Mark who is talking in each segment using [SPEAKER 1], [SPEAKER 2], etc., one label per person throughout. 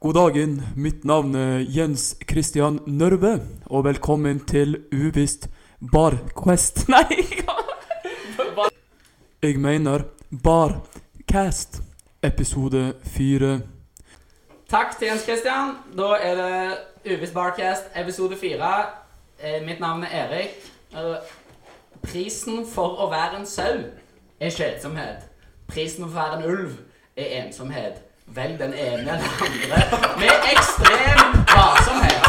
[SPEAKER 1] God dagen, mitt navn er Jens Christian Nørve, og velkommen til uvisst Barquest. Nei, hva- jeg mener Barcast, episode fire.
[SPEAKER 2] Takk til Jens Christian. Da er det Uvis Barcast episode fire. Eh, Mitt navn er Erik. Eh, Prisen for å være en sau er kjedsomhet. Prisen for å være en ulv er ensomhet. Velg den ene eller andre med ekstrem varsomhet.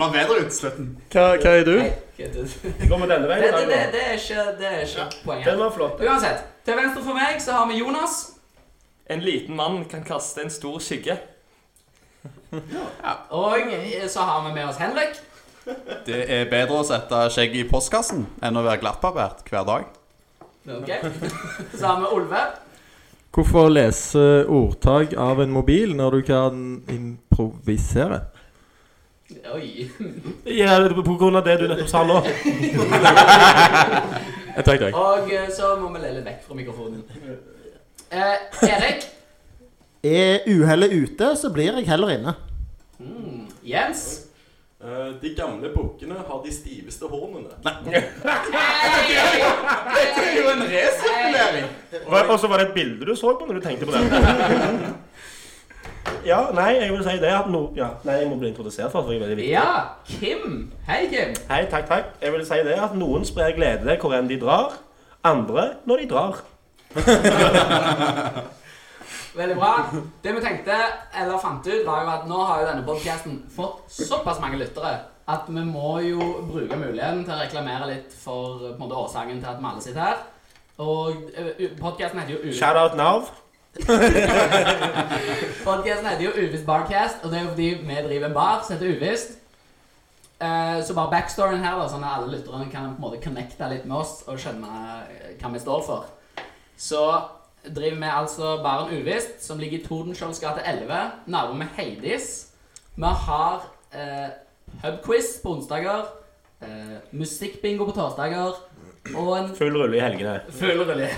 [SPEAKER 3] Man bedre ut slutten.
[SPEAKER 4] Hva, hva er du?
[SPEAKER 2] Nei, kødder.
[SPEAKER 5] Vi går med denne
[SPEAKER 2] Det,
[SPEAKER 5] veien i
[SPEAKER 2] det, det,
[SPEAKER 5] dag. da.
[SPEAKER 2] det er ikke, det er ikke
[SPEAKER 5] Den
[SPEAKER 2] poenget.
[SPEAKER 5] var flott.
[SPEAKER 2] Uansett, til venstre for meg så har vi Jonas.
[SPEAKER 4] En liten mann kan kaste en stor skygge.
[SPEAKER 2] Og eh, så har vi med oss Henrik.
[SPEAKER 3] Det er bedre å sette skjegget i postkassen enn å være glattbarbert hver dag.
[SPEAKER 2] Ok. Så har vi Olve.
[SPEAKER 6] Hvorfor lese ordtak av en mobil når du kan improvisere?
[SPEAKER 2] Oi.
[SPEAKER 5] Ja, det er på grunn av det du nettopp sa nå.
[SPEAKER 6] Takk, takk.
[SPEAKER 2] Og eh, så må vi le litt vekk fra mikrofonen. Eh, Erik.
[SPEAKER 7] Er uhellet ute, så blir jeg heller inne.
[SPEAKER 2] Mm, Jens.
[SPEAKER 8] De gamle bukkene har de stiveste hornene.
[SPEAKER 3] Det er jo en resirkulering!
[SPEAKER 5] Hva- Og så var det et bilde du så på når du tenkte på det. Ja, nei, jeg vil si det at no, ja, Nei, jeg må bli introdusert først, for jeg er veldig viktig.
[SPEAKER 2] Ja, Kim. Hei, Kim.
[SPEAKER 5] Hei, takk, takk. Jeg vil si det at noen sprer glede hvor enn de drar. Andre når de drar.
[SPEAKER 2] Veldig bra. Det vi tenkte, eller fant ut, var jo at nå har jo denne podcasten fått såpass mange lyttere at vi må jo bruke muligheten til å reklamere litt for eh, på en måte, årsaken til at vi alle sitter her. Og eh, u- podcasten heter jo U-
[SPEAKER 5] Shout-out Nav.
[SPEAKER 2] Podcasten heter jo Uvisst Barcast, og det er jo fordi vi driver en bar som heter Uvisst. Eh, så bare backstoryen her, da, sånn at alle lytterne kan på en måte connecte litt med oss og skjønne eh, hva vi står for. Så driver vi altså baren Uvisst, som ligger i Tordenskiolds gate 11, nabo med Heidis. Vi har eh, pubquiz på onsdager, eh, musikkbingo på torsdager og en
[SPEAKER 5] Full rulle i helgene.
[SPEAKER 2] fuglerelje.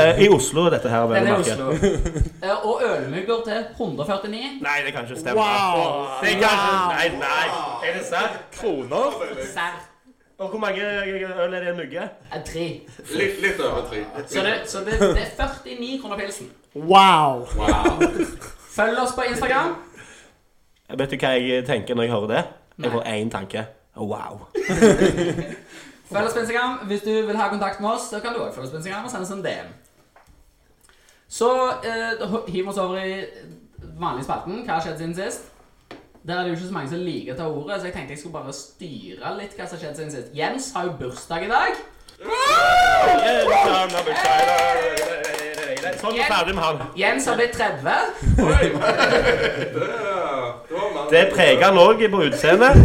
[SPEAKER 5] Eh, I Oslo, dette her. vel
[SPEAKER 2] Den er
[SPEAKER 5] å
[SPEAKER 2] i
[SPEAKER 5] merke.
[SPEAKER 2] Oslo. Eh, og ølmugger til 149.
[SPEAKER 5] Nei, det kan ikke stemme. Wow! Det kan ikke, nei, nei. Er det sant?
[SPEAKER 4] Kroner?
[SPEAKER 2] Serr.
[SPEAKER 5] Og hvor mange øl er det i en mugge?
[SPEAKER 2] Eh, Tre.
[SPEAKER 8] Litt, litt over tre.
[SPEAKER 2] Så det, så det, det er 49 kroner pilsen.
[SPEAKER 7] Wow!
[SPEAKER 2] Følg oss på Instagram.
[SPEAKER 5] Vet du hva jeg tenker når jeg hører det?
[SPEAKER 2] Nei.
[SPEAKER 5] Jeg får én tanke. Wow.
[SPEAKER 2] Følg oss på Instagram. Hvis du vil ha kontakt med oss, så kan du også følge oss på Instagram og sende oss en DM. Så eh, da ho- hiver vi oss over i vanlig spalten. Hva har skjedd siden sist? Der er det jo ikke så mange som liker å ta ordet, så jeg tenkte jeg skulle bare styre litt hva som har skjedd siden sist. Jens har jo bursdag i dag.
[SPEAKER 5] Sånn er ferdig med han.
[SPEAKER 2] Jens har blitt 30.
[SPEAKER 5] Det preger han òg på utseendet.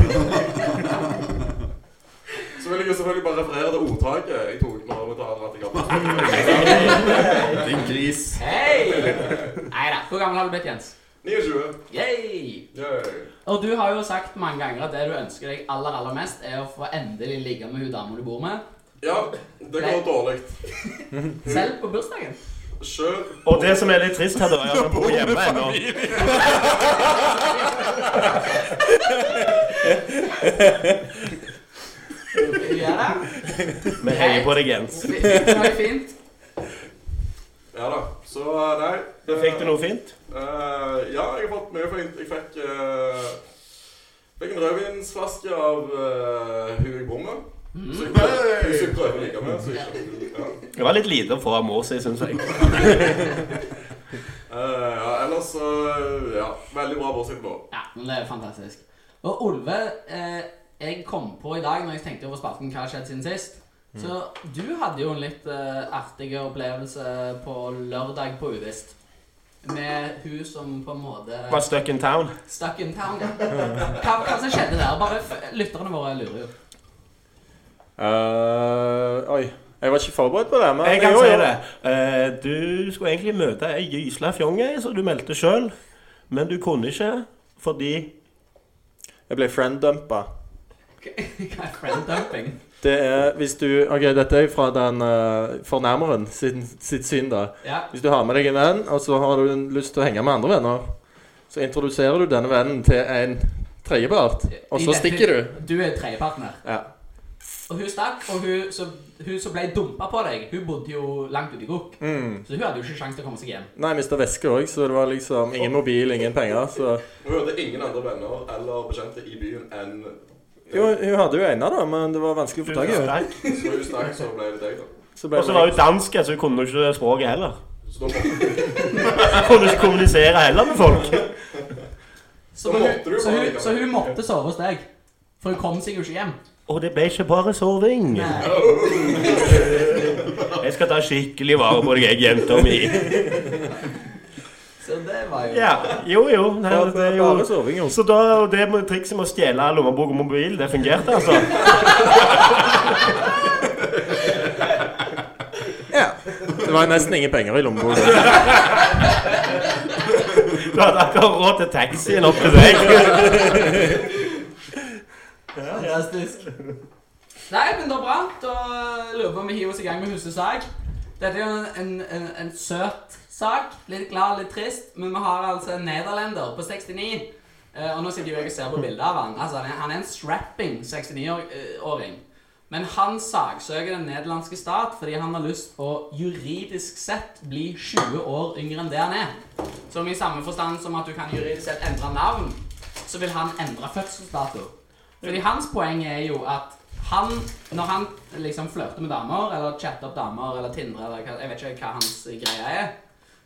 [SPEAKER 8] Så vil jeg jo selvfølgelig bare referere det ordtaket jeg tok når vi drar at jeg har fått
[SPEAKER 3] Din gris.
[SPEAKER 2] Hei! Nei da. Hvor gammel har du blitt, Jens?
[SPEAKER 8] 29.
[SPEAKER 2] Yay!
[SPEAKER 8] Yay.
[SPEAKER 2] Og du har jo sagt mange ganger at det du ønsker deg aller aller mest, er å få endelig ligge med hun dama du bor med.
[SPEAKER 8] Ja, det går dårlig.
[SPEAKER 2] Selv på bursdagen.
[SPEAKER 8] Kjør
[SPEAKER 5] Og det som er litt trist her, da, er at han bor hjemme ennå.
[SPEAKER 2] Du gjør det.
[SPEAKER 5] Vi heier på deg, Jens.
[SPEAKER 2] Det er fint.
[SPEAKER 8] Ja da. Så eh, nei det-
[SPEAKER 5] Fikk du noe fint?
[SPEAKER 8] Eh, ja, jeg har fått mye fint. Jeg fikk eh, Fikk en rødvinsflaske av uh, hun jeg bor med. Så jeg prøver- så jeg prøver å ligge med. Så jeg, ja.
[SPEAKER 5] Det var litt lite å få av mor si, syns jeg.
[SPEAKER 8] Eh, ja, ellers så eh, Ja, veldig bra bortsett fra
[SPEAKER 2] Ja, men det er fantastisk. Og Olve, eh, jeg kom på i dag når jeg tenkte over spalten hva har skjedd siden sist. Så du hadde jo en litt eh, artig opplevelse på lørdag på Uvisst. Med hun som på en måte
[SPEAKER 5] Var stuck in town.
[SPEAKER 2] stuck in town. ja. Hva, hva som skjedde der? Bare f lytterne våre lurer jo.
[SPEAKER 6] Eh, oi. Jeg var ikke forberedt på det. Men
[SPEAKER 5] Jeg kan
[SPEAKER 6] jo,
[SPEAKER 5] si
[SPEAKER 6] jo.
[SPEAKER 5] det. Eh, Du skulle egentlig møte ei gysla fjonge, så du meldte sjøl. Men du kunne ikke fordi
[SPEAKER 6] Jeg ble frienddumpa.
[SPEAKER 2] Hva er friend dumping?
[SPEAKER 6] Det er hvis du OK, dette er fra den eh, fornærmeren sin, sitt syn, da.
[SPEAKER 2] Ja.
[SPEAKER 6] Hvis du har med deg en venn, og så har du lyst til å henge med andre venner, Så introduserer du denne vennen til en tredjepart, og så stikker du.
[SPEAKER 2] Du er tredjepartner.
[SPEAKER 6] Ja.
[SPEAKER 2] Og hun stakk, og hun som, hun som ble dumpa på deg, hun bodde jo langt ute i gokk.
[SPEAKER 6] Mm.
[SPEAKER 2] Så hun hadde jo ikke sjanse til å komme seg hjem.
[SPEAKER 6] Nei, mista veske òg, så det var liksom ingen mobil, ingen penger. Så
[SPEAKER 8] Hun hadde ingen andre venner eller bekjente i byen enn
[SPEAKER 6] Jo, hun hadde jo ena, da, men det var vanskelig å få tak i henne.
[SPEAKER 5] Og
[SPEAKER 8] Så hun stakk, så ble det deg, da.
[SPEAKER 6] Så ble
[SPEAKER 5] så var
[SPEAKER 6] det
[SPEAKER 5] hun dansk, så hun kunne jo ikke språket heller.
[SPEAKER 8] Så da måtte,
[SPEAKER 5] Hun kunne ikke kommunisere heller med folk.
[SPEAKER 2] Så,
[SPEAKER 8] Da
[SPEAKER 2] hun,
[SPEAKER 8] måtte du
[SPEAKER 2] så, hun,
[SPEAKER 8] bare likevel.
[SPEAKER 2] så hun måtte sove hos deg. For hun kom seg jo ikke hjem.
[SPEAKER 5] Og det ble ikke bare soving.
[SPEAKER 2] Nei.
[SPEAKER 5] Jeg skal ta skikkelig vare på deg, jeg, jenta mi.
[SPEAKER 2] Så det var jo
[SPEAKER 5] Ja, jo, jo. Nei,
[SPEAKER 6] bare-
[SPEAKER 5] det er jo
[SPEAKER 6] bare soving. jo.
[SPEAKER 5] så da, og det med trikset med å stjele lommebok og mobil, det fungerte altså?
[SPEAKER 6] Ja. Det var nesten ingen penger i lommeboka.
[SPEAKER 5] Du hadde akkurat råd til taxien opp til deg.
[SPEAKER 2] fantastisk. Nei, men da bra. Da lurer jeg på om vi hiver oss i gang med husesag. Dette er jo en, en, en, en søt sak. Litt glad, litt trist. Men vi har altså en nederlender på 69. Eh, og nå sitter jeg og ser på bilder av han. Altså, han er, han er en strapping 69-åring. Men han saksøker den nederlandske stat fordi han har lyst å juridisk sett bli 20 år yngre enn det han er. Som i samme forstand som at du kan juridisk sett endre navn, så vil han endre fødselsdato. Fordi hans poeng er jo at han, når han liksom flørter med damer, eller chatter opp damer, eller tindrer, eller hva, jeg vet ikke hva hans greie er,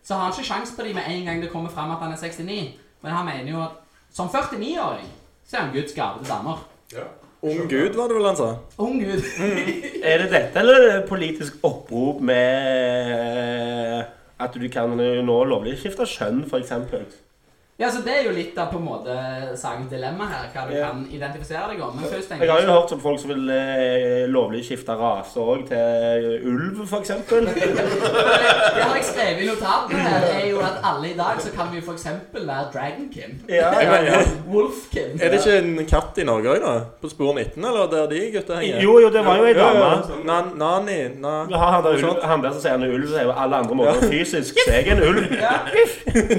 [SPEAKER 2] så har han ikke sjans på dem med en gang det kommer frem at han er 69. Men han mener jo at som 49-åring så er han Guds gave til damer.
[SPEAKER 8] ja.
[SPEAKER 6] Ung gud, var det vel altså. han sa.
[SPEAKER 2] Ung Gud.
[SPEAKER 5] Er det dette, eller er det politisk opprop med at du kan nå lovlig skifte kjønn, f.eks.?
[SPEAKER 2] Ja, så det er jo litt av på en måte sagens dilemma her, hva du
[SPEAKER 5] Ja.
[SPEAKER 2] kan identifisere deg om. Men først
[SPEAKER 5] Jeg har
[SPEAKER 2] tenker
[SPEAKER 5] jo hørt om folk som vil eh, lovlig skifte rase òg, til ulv, f.eks.
[SPEAKER 2] Det har jeg skrevet i notatene her, er jo at alle i dag så kan vi for eksempel være Dragonkin.
[SPEAKER 5] Ja, ja, ja.
[SPEAKER 2] Wolfkin.
[SPEAKER 6] Er det ikke en katt i Norge òg, da? På spor 19, eller der de gutta henger?
[SPEAKER 5] Jo, jo, det var jo ei
[SPEAKER 6] Ja, ja.
[SPEAKER 5] dame.
[SPEAKER 6] Na, nani, na...
[SPEAKER 5] Vi har Han der, ulv- han der som sier han er ulv, sier jo alle andre måter fysisk. Så jeg er en ulv.
[SPEAKER 2] Ja.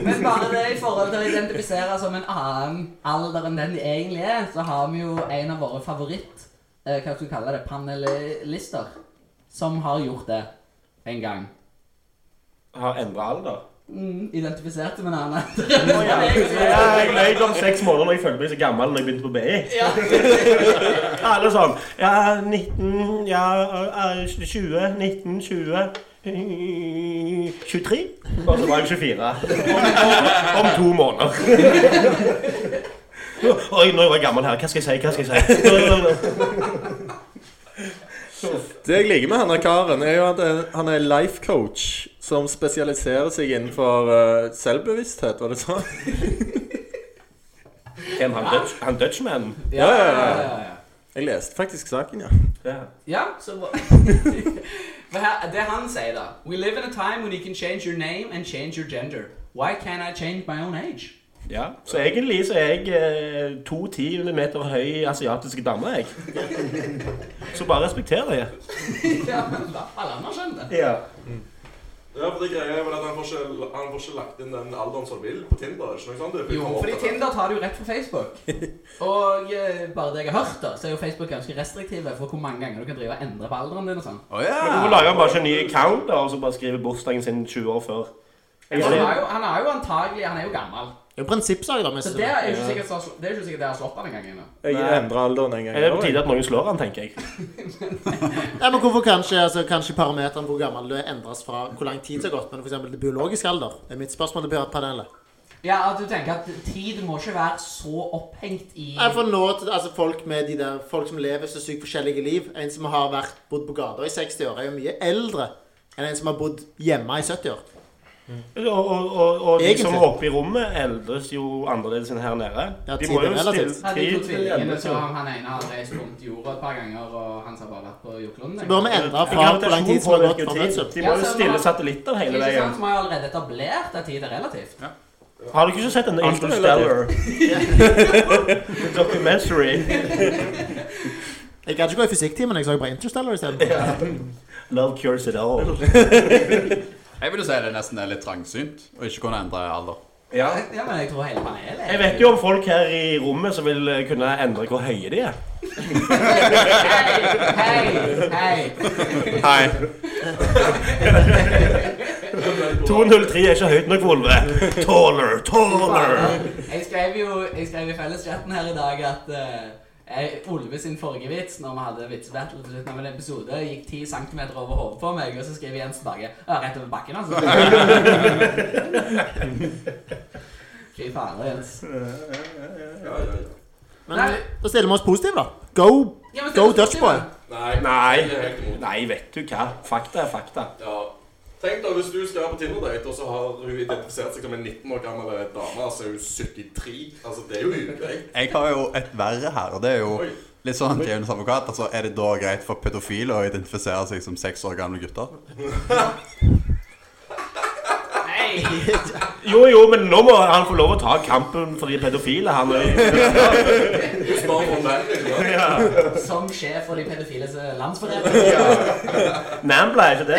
[SPEAKER 2] Men bare det i forhold til å identifisere som en annen alder enn den de egentlig er, så har vi jo en av våre favoritt, eh, hva skal vi kalle det, panelister, som har gjort det en gang.
[SPEAKER 5] Har endra alder.
[SPEAKER 2] Mm, identifiserte med en annen.
[SPEAKER 5] Ja, jeg løy om seks måneder når jeg følte meg så gammel når jeg begynte på BI.
[SPEAKER 2] Ja.
[SPEAKER 5] Alle sånn Ja, 19 Ja, eh, 20 19, 20 23. Og så var jeg 24. Om, om, om to måneder. Oi, nå var jeg gammel her. Hva skal jeg si? Hva skal jeg si?
[SPEAKER 6] Det jeg liker med han her karen, er jo at eh, han er life coach som spesialiserer seg innenfor eh, selvbevissthet, var det sånn?
[SPEAKER 5] Hvem han, Dutch, han Dutchman?
[SPEAKER 2] Ja, ja, ja, ja.
[SPEAKER 6] Jeg leste faktisk saken, ja.
[SPEAKER 5] Ja.
[SPEAKER 2] Ja, så bra. Men her- det han sier da We live in a time when you can change your name and change your gender. Why can't I change my own age?
[SPEAKER 5] ja. Så egentlig så er jeg eh, to ti millimeter høy asiatisk dame, jeg. Så bare respekter det.
[SPEAKER 2] Ja, men da, alle andre skjønner det.
[SPEAKER 5] Ja.
[SPEAKER 8] Ja, for det greia er vel at han får, ikke, han får ikke lagt inn den alderen som han vil på Tinder. ikke noe sånt? Det er
[SPEAKER 2] Jo, fordi Tinder tar du rett fra Facebook. Og eh, bare det jeg har hørt, da, så er jo Facebook ganske restriktive for hvor mange ganger du kan drive og endre på alderen din og sånn.
[SPEAKER 3] Å ja.
[SPEAKER 5] Men Hvorfor lager han bare ikke en ny account da, og så bare skriver bursdagen sin 20 år før? Jeg
[SPEAKER 2] Han
[SPEAKER 5] ser-
[SPEAKER 2] er jo, han er jo antagelig Han er jo gammel.
[SPEAKER 7] Det er jo prinsippsak, da.
[SPEAKER 2] Så
[SPEAKER 7] Hvis
[SPEAKER 2] det er jo ikke sikkert, så- det er jo ikke sikkert det har slått han engang ennå.
[SPEAKER 6] Jeg
[SPEAKER 5] Nei.
[SPEAKER 6] endra alderen en gang.
[SPEAKER 5] Er det på tide at noen slår han, tenker jeg.
[SPEAKER 7] Nei, men hvorfor kanskje, altså, kanskje parameteren hvor gammel du er, endres fra hvor lang tid det har gått, men f.eks. det biologiske alder? Det er mitt spørsmål til panelet.
[SPEAKER 2] Ja, at du tenker at tid må ikke være så opphengt i
[SPEAKER 7] Nei, for nå, til- altså, folk, med de der, folk som lever så sykt forskjellige liv En som har vært, bodd på gata i 60 år, er jo mye eldre enn en som har bodd hjemme i 70 år.
[SPEAKER 5] Og, og, og, og de som
[SPEAKER 7] Egentlig.
[SPEAKER 5] er oppe i rommet, eldes jo annerledes enn her nede.
[SPEAKER 7] Ja,
[SPEAKER 5] De
[SPEAKER 7] tiden
[SPEAKER 5] må
[SPEAKER 7] er
[SPEAKER 5] jo
[SPEAKER 7] relativ.
[SPEAKER 5] stille
[SPEAKER 2] Ja, de to
[SPEAKER 5] tid til
[SPEAKER 2] tvillingene
[SPEAKER 5] ende,
[SPEAKER 2] så
[SPEAKER 5] så.
[SPEAKER 2] han, han ene har reist rundt jorda et par ganger, og han har bare vært på jordkloden.
[SPEAKER 7] Så bør vi endre fra hvor lang tid som har gått
[SPEAKER 5] Gravitasjon
[SPEAKER 7] fra
[SPEAKER 5] påvirker jo tid.
[SPEAKER 7] fødsel.
[SPEAKER 5] De
[SPEAKER 2] Ja,
[SPEAKER 5] må jo
[SPEAKER 2] så-
[SPEAKER 5] stille satellitter hele
[SPEAKER 2] Ikke sant?
[SPEAKER 5] veien.
[SPEAKER 2] Så vi har jo allerede etablert at tid er relativt.
[SPEAKER 5] Har dere ikke sett den
[SPEAKER 6] Alt er
[SPEAKER 5] Interstellar? Documentary.
[SPEAKER 7] Jeg kan ikke gå i fysikktimen, jeg så bare Interstellar isteden.
[SPEAKER 5] Love cures it all.
[SPEAKER 3] Jeg ville si det nesten er litt trangsynt å ikke kunne endre alder.
[SPEAKER 5] Ja.
[SPEAKER 2] Ja, men jeg tror hele panelet
[SPEAKER 5] Jeg vet jo om folk her i rommet som vil eh, kunne endre hvor høye de er.
[SPEAKER 2] Hei, hei, hei.
[SPEAKER 6] Hei.
[SPEAKER 5] 203 er ikke høyt nok, Volve. Taller, taller.
[SPEAKER 2] Jeg skrev jo jeg skrev i felleschatten her i dag at eh, jeg, Olve sin forrige vits når vi hadde vitsebattle til slutten av en episode, gikk 10 cm over hodet på meg, og så skrev Jens tilbake «Ja, rett over bakken, altså. Fy fader, Jens.
[SPEAKER 8] Ja, ja, ja.
[SPEAKER 7] Men eh,
[SPEAKER 2] Nei.
[SPEAKER 7] da stiller vi oss positive, da. Go,
[SPEAKER 2] Ja, men
[SPEAKER 7] go
[SPEAKER 2] det-
[SPEAKER 7] Dutch boy.
[SPEAKER 8] Nei.
[SPEAKER 5] Nei.
[SPEAKER 8] Jeg er helt imot.
[SPEAKER 5] Nei, vet du hva. Fakta er fakta.
[SPEAKER 8] Ja. Tenk da, hvis du skal på Tinder-date, og så har hun identifisert seg som en 19 år gammel dame, altså er hun 73. Altså, det er jo ugreit.
[SPEAKER 3] Jeg har jo et verre her, og det er jo
[SPEAKER 8] Oi.
[SPEAKER 3] litt sånn djevelens advokat. Altså, er det da greit for pedofile å identifisere seg som seks år gamle gutter?
[SPEAKER 2] Nei!
[SPEAKER 5] Jo, jo, men nå må han få lov å ta kampen for de pedofile. Han er
[SPEAKER 8] Hun spør om den. ikke sant?
[SPEAKER 5] ja.
[SPEAKER 2] Som sjef for de pedofiles eh, landsforening.
[SPEAKER 5] Nambla, er ikke det?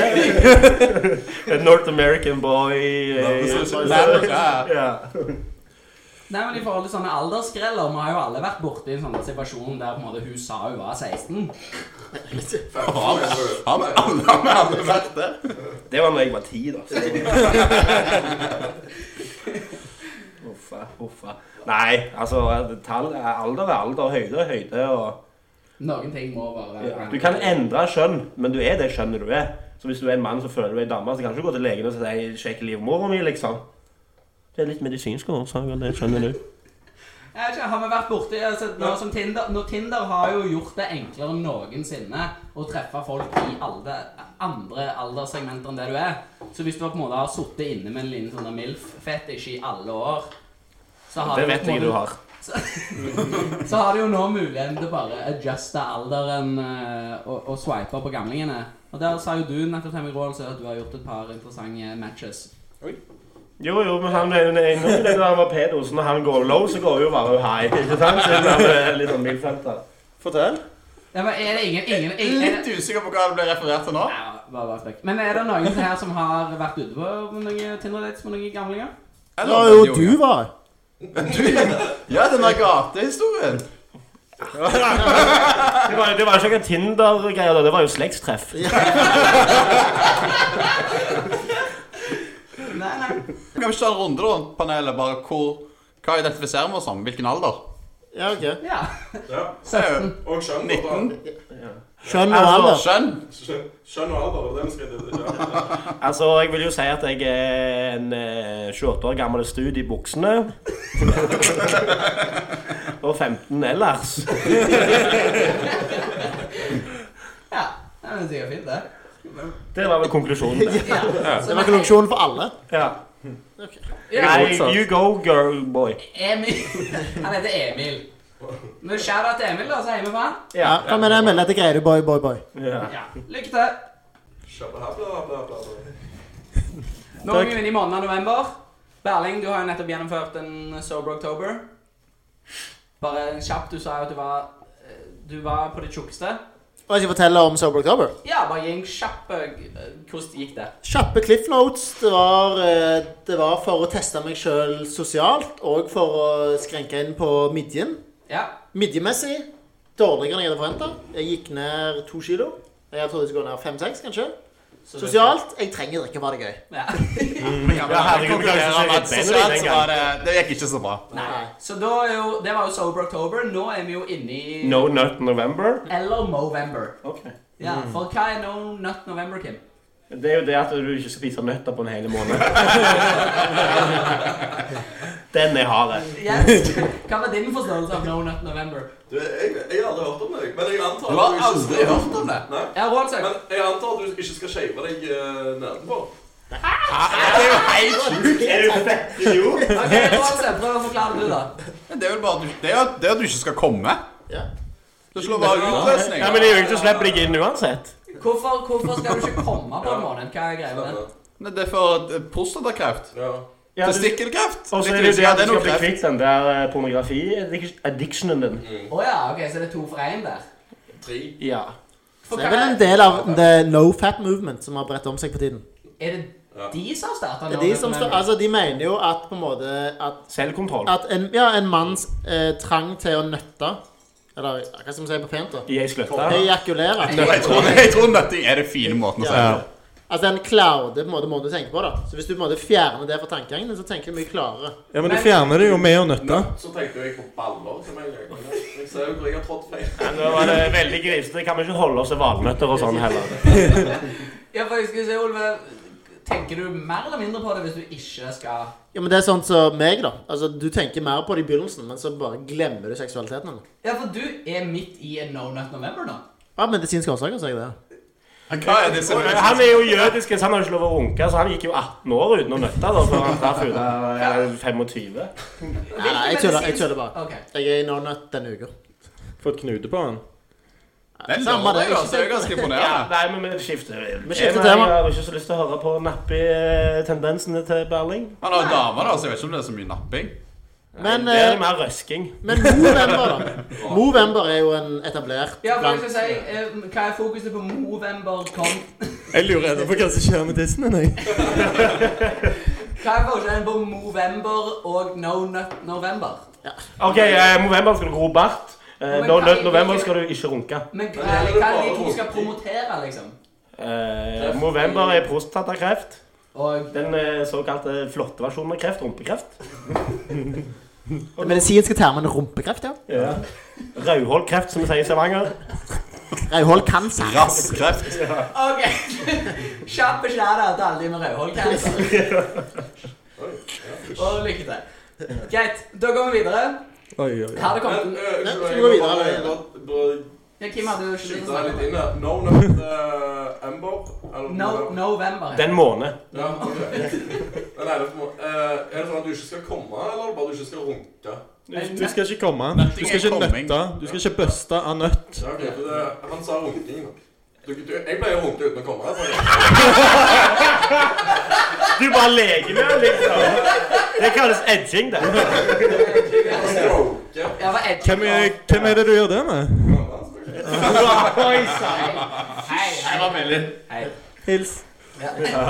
[SPEAKER 5] A North American boy. eh,
[SPEAKER 3] Ja.
[SPEAKER 5] Ja.
[SPEAKER 2] Nei, men I forhold til sånne aldersskreller Vi har jo alle vært borti en sånn situasjon der på en måte hun sa hun var 16.
[SPEAKER 8] Faen, altså.
[SPEAKER 3] Har vi alle har vi alle vært det?
[SPEAKER 5] Det var når jeg var ti, da. så- Uffa, uffa. Nei, altså tall, alder er alder, høyde er høyde. Og,
[SPEAKER 2] Noen ting må bare
[SPEAKER 5] du kan endre kjønn, men du er det kjønnet du er. Så hvis du er en mann som føler du er en dame, så kan du ikke gå til legen og si «Hei, 'sjekk livmora mi', liksom. Det er litt medisinsk årsaker, det skjønner du.
[SPEAKER 2] Jeg vet ikke, Har vi vært borti altså, nå som Tinder, nå Tinder har jo gjort det enklere enn noensinne å treffe folk i alle andre alderssegmenter enn det du er. Så hvis du på en måte har sittet inne med en liten sånn der MILF-fetisj i alle år så har
[SPEAKER 5] Det
[SPEAKER 2] du på
[SPEAKER 5] vet
[SPEAKER 2] en
[SPEAKER 5] jeg
[SPEAKER 2] måte-
[SPEAKER 5] du har.
[SPEAKER 2] Så har du jo nå muligheten til bare adjuste alderen eh, og, og swipe på gamlingene. Og der sa jo du nettopp til meg, Roald, så at du har gjort et par interessante matches.
[SPEAKER 5] Jo, jo, men han er jo enig når han var pedo, så når han går low, så går jo bare high. Ikke sant? Så han er litt sånn mildfilter.
[SPEAKER 6] Fortell.
[SPEAKER 2] Ja, men er det ingen, ingen, ingen er
[SPEAKER 3] Litt
[SPEAKER 2] det-
[SPEAKER 3] usikker på hva det ble referert til nå.
[SPEAKER 2] Nei, bare, bare spøk. Men er det noen her som har vært ute på noen Tinder-dates med noen gamlinger?
[SPEAKER 7] Det var jo du, var.
[SPEAKER 3] Ja, den der gatehistorien.
[SPEAKER 5] Det var, det var ikke noen Tinder-greier, da. Det var jo slektstreff.
[SPEAKER 2] Nei, nei.
[SPEAKER 3] Kan vi ikke ta en runde rundt panelet? bare hvor, Hva identifiserer vi oss som? Hvilken alder?
[SPEAKER 7] Ja, ok.
[SPEAKER 2] Ja.
[SPEAKER 8] Ja.
[SPEAKER 3] Det er jo
[SPEAKER 8] Og skjønn.
[SPEAKER 3] 19.
[SPEAKER 7] Skjønn og
[SPEAKER 3] Altså,
[SPEAKER 7] alder.
[SPEAKER 3] skjønn.
[SPEAKER 8] Skjønn og alder, det er det vi skal ja.
[SPEAKER 5] Altså, jeg vil jo si at jeg er en eh, 28 år gammel stud i buksene. Og 15 ellers.
[SPEAKER 2] ja. Nei, men Det er sikkert fint, det.
[SPEAKER 5] Det var vel konklusjonen. det.
[SPEAKER 2] Ja. Så,
[SPEAKER 7] Det var kolleksjonen for alle.
[SPEAKER 5] Ja.
[SPEAKER 2] ja.
[SPEAKER 5] Nei, you go, girl boy.
[SPEAKER 2] Emil. Han heter Emil. Men shout-out til Emil, da, så heier vi på han.
[SPEAKER 7] Ja,
[SPEAKER 5] Ja.
[SPEAKER 7] Kom med den meldingen til Greide, boy, boy, boy.
[SPEAKER 5] ja.
[SPEAKER 2] Ja. Lykke til.
[SPEAKER 8] Kjøpe her, bla, bla, bla, bla.
[SPEAKER 2] Nå er vi jo inne i måneden av november. Berling, du har jo nettopp gjennomført en sober oktober. Bare kjapt, du sa jo at du var eh, Du var på det tjukkeste.
[SPEAKER 7] Og jeg skal fortelle om Sober October.
[SPEAKER 2] Ja, bare gi en kjapp eh, Hvordan gikk det?
[SPEAKER 7] Kjappe cliff notes. Det var, eh, det var for å teste meg sjøl sosialt, og for å skrenke inn på midjen.
[SPEAKER 2] Ja.
[SPEAKER 7] Midjemessig dårligere enn jeg hadde forventa. Jeg gikk ned to kilo. Jeg trodde jeg skulle gå ned fem-seks, kanskje.
[SPEAKER 2] så du-
[SPEAKER 7] Sosialt jeg trenger drikke, var det gøy.
[SPEAKER 2] Ja.
[SPEAKER 3] Ja,
[SPEAKER 5] herregud, kanskje
[SPEAKER 3] konkurrerer med at
[SPEAKER 5] Benedikt
[SPEAKER 3] sosialt
[SPEAKER 5] en
[SPEAKER 3] så var det Det gikk ikke så bra.
[SPEAKER 2] Nei. Så da er jo Det var jo sober oktober. Nå er vi jo inne i
[SPEAKER 5] No nut November.
[SPEAKER 2] Eller Movember.
[SPEAKER 5] Okay.
[SPEAKER 2] Ja,
[SPEAKER 3] Mm.
[SPEAKER 2] for hva er no nut november, Kim?
[SPEAKER 5] Det er jo det at du ikke spiser nøtter på en hel måned. Den er hard.
[SPEAKER 2] Yes. Hva var din forståelse av no nut november?
[SPEAKER 8] Du, jeg, jeg har aldri hørt om deg, men jeg antar
[SPEAKER 3] Du har aldri hørt om det?
[SPEAKER 8] Nei.
[SPEAKER 2] Ja, Roald
[SPEAKER 8] Men
[SPEAKER 2] søk.
[SPEAKER 8] jeg antar at du ikke skal shave deg uh, nedenpå.
[SPEAKER 3] Det er jo helt sjukt.
[SPEAKER 2] Ok, Roald søk, prøv å forklare det, du, da.
[SPEAKER 3] Men Det er vel bare at du- det er at det er at du ikke skal komme.
[SPEAKER 7] Ja.
[SPEAKER 3] Du slår bare utløsning.
[SPEAKER 5] Ja, men det er jo ikke til å slippe deg inn uansett.
[SPEAKER 2] Hvorfor, hvorfor skal du ikke komme på en måned? Hva er greia med det?
[SPEAKER 3] Nei, Det er for eh, prostatakreft.
[SPEAKER 8] Ja.
[SPEAKER 5] Ja, du-
[SPEAKER 3] Testikkelkreft.
[SPEAKER 5] Og så er
[SPEAKER 3] Litt
[SPEAKER 5] det jo det
[SPEAKER 3] usikker,
[SPEAKER 5] at du
[SPEAKER 3] noe
[SPEAKER 5] skal bli
[SPEAKER 3] kreft.
[SPEAKER 5] kvitt den der eh, pornografi-addictionen din.
[SPEAKER 2] Å ja, ok, så det er to for én der.
[SPEAKER 8] Tre.
[SPEAKER 5] Ja.
[SPEAKER 2] For
[SPEAKER 7] Det er
[SPEAKER 2] hva
[SPEAKER 7] vel en del av the no fat movement som har bredt om seg på tiden.
[SPEAKER 2] er det
[SPEAKER 8] Ja.
[SPEAKER 2] De som starta
[SPEAKER 7] Det er de som står Altså, de mener jo at på en måte at
[SPEAKER 5] Selvkontroll.
[SPEAKER 7] At en, ja, en manns eh, trang til å nøtte Eller hva skal vi si på pent, da?
[SPEAKER 5] Jeg skløtta.
[SPEAKER 7] Ejakulere.
[SPEAKER 3] Nei, Jeg tror, jeg tror nøtting er den fine måten å si det på.
[SPEAKER 7] Altså en klaude på en måte måten du tenker på. da Så Hvis du på en måte fjerner det fra tankegangen, så tenker du mye klarere.
[SPEAKER 6] Ja, men du fjerner det jo med å nøtte.
[SPEAKER 8] Nøtt, så tenkte jeg på baller. Som jeg, jeg ser jo hvor jeg har trådt feil.
[SPEAKER 5] Nå var det veldig grisete. Kan vi ikke holde oss til valnøtter og sånn heller?
[SPEAKER 2] Ja, for jeg skulle si, Olve, tenker du mer eller mindre på det hvis du ikke skal
[SPEAKER 7] Ja, men Det er sånn som meg, da. Altså Du tenker mer på det i begynnelsen, men så bare glemmer du seksualiteten. Eller?
[SPEAKER 2] Ja, for du er midt i en No Nut November nå.
[SPEAKER 7] Av medisinske årsaker, sier jeg det.
[SPEAKER 3] Hva er det som er
[SPEAKER 5] Han er jo jødisk, så han har jo ikke lov å runke, så han gikk jo 18 år uten å nøtte da, før han traff ut av ja, 25.
[SPEAKER 7] Nei, nei, jeg tuller, jeg tuller bare.
[SPEAKER 2] Ok.
[SPEAKER 7] Jeg er i no-nut denne uka.
[SPEAKER 6] Fått knute på den.
[SPEAKER 3] Den
[SPEAKER 7] Samme
[SPEAKER 3] lover
[SPEAKER 7] det,
[SPEAKER 3] jeg,
[SPEAKER 7] ikke
[SPEAKER 3] altså. Det er ganske
[SPEAKER 5] Ja,
[SPEAKER 3] imponerende.
[SPEAKER 5] nei, men vi skifter. Vi
[SPEAKER 7] skifter tema.
[SPEAKER 5] Jeg har ikke så lyst til å høre på nappi-tendensene til Berling.
[SPEAKER 3] Han har damer, da, så jeg vet ikke om det er så mye napping.
[SPEAKER 7] Men,
[SPEAKER 5] det er
[SPEAKER 7] eh,
[SPEAKER 5] mer røsking.
[SPEAKER 7] men Movember, da. Movember er jo en etablert
[SPEAKER 2] Ja, for jeg
[SPEAKER 7] blant-
[SPEAKER 2] skulle si, eh, hva er fokuset på Movember? Kom.
[SPEAKER 6] Jeg lurer ennå på hva som skjer med tissen din. jeg.
[SPEAKER 2] Hva er forskjellen på Movember og No Nut November?
[SPEAKER 5] Ok, eh, november skal du gro bart. Eh,
[SPEAKER 2] Men
[SPEAKER 5] nå-
[SPEAKER 2] kan-
[SPEAKER 5] nå- november skal du ikke runke.
[SPEAKER 2] Men hva,
[SPEAKER 8] Men det er
[SPEAKER 2] hva er det
[SPEAKER 8] bare
[SPEAKER 2] de to skal
[SPEAKER 8] runking.
[SPEAKER 2] promotere, liksom?
[SPEAKER 5] Eh, november er prostatakreft.
[SPEAKER 2] Og
[SPEAKER 5] Den eh, såkalte flotte versjonen av kreft, rumpekreft.
[SPEAKER 7] Den medisinske termen rumpekreft, ja.
[SPEAKER 5] Ja. Rauholkreft, som vi sier i Stavanger.
[SPEAKER 7] Rødhold cancer.
[SPEAKER 3] Rasskreft.
[SPEAKER 2] OK! Kjappe skjærer til alle de med rødhålkreft. Og lykke til. Greit, da går vi videre.
[SPEAKER 6] Oi, oi, oi.
[SPEAKER 2] Her er det
[SPEAKER 8] Men
[SPEAKER 2] kommet
[SPEAKER 8] eh,
[SPEAKER 7] Nei,
[SPEAKER 8] unnskyld,
[SPEAKER 7] skal vi
[SPEAKER 8] jeg
[SPEAKER 7] gå
[SPEAKER 8] må
[SPEAKER 7] videre,
[SPEAKER 8] bare-
[SPEAKER 7] eller?
[SPEAKER 8] bare- bare
[SPEAKER 2] ja, Kim hadde jo sluttet å
[SPEAKER 8] skyte litt
[SPEAKER 2] snakke.
[SPEAKER 8] inn her. No Nut eh, Ember? Eller
[SPEAKER 2] No, November.
[SPEAKER 5] Den måned.
[SPEAKER 8] Ja, ok. Den er det for må- eh, Er det sånn at du ikke skal komme, eller bare du ikke skal runke?
[SPEAKER 6] Du, du skal ikke komme.
[SPEAKER 3] Nøtting
[SPEAKER 6] Du skal
[SPEAKER 3] er
[SPEAKER 6] ikke
[SPEAKER 3] komming.
[SPEAKER 6] nøtte. Du skal ikke bøste av nøtt.
[SPEAKER 8] Ja, ok, for det, Han sa runking. da. Du, du, jeg pleier å runke uten å komme. Altså.
[SPEAKER 5] Du bare leker med den, liksom. Det kalles edging, det.
[SPEAKER 8] Stroke.
[SPEAKER 2] Ja, hva er
[SPEAKER 6] Hvem er, hvem er det du gjør det med?
[SPEAKER 5] Oi, sann.
[SPEAKER 2] Hei, hei, hei.
[SPEAKER 6] Hils.
[SPEAKER 2] Ja.
[SPEAKER 5] Ja,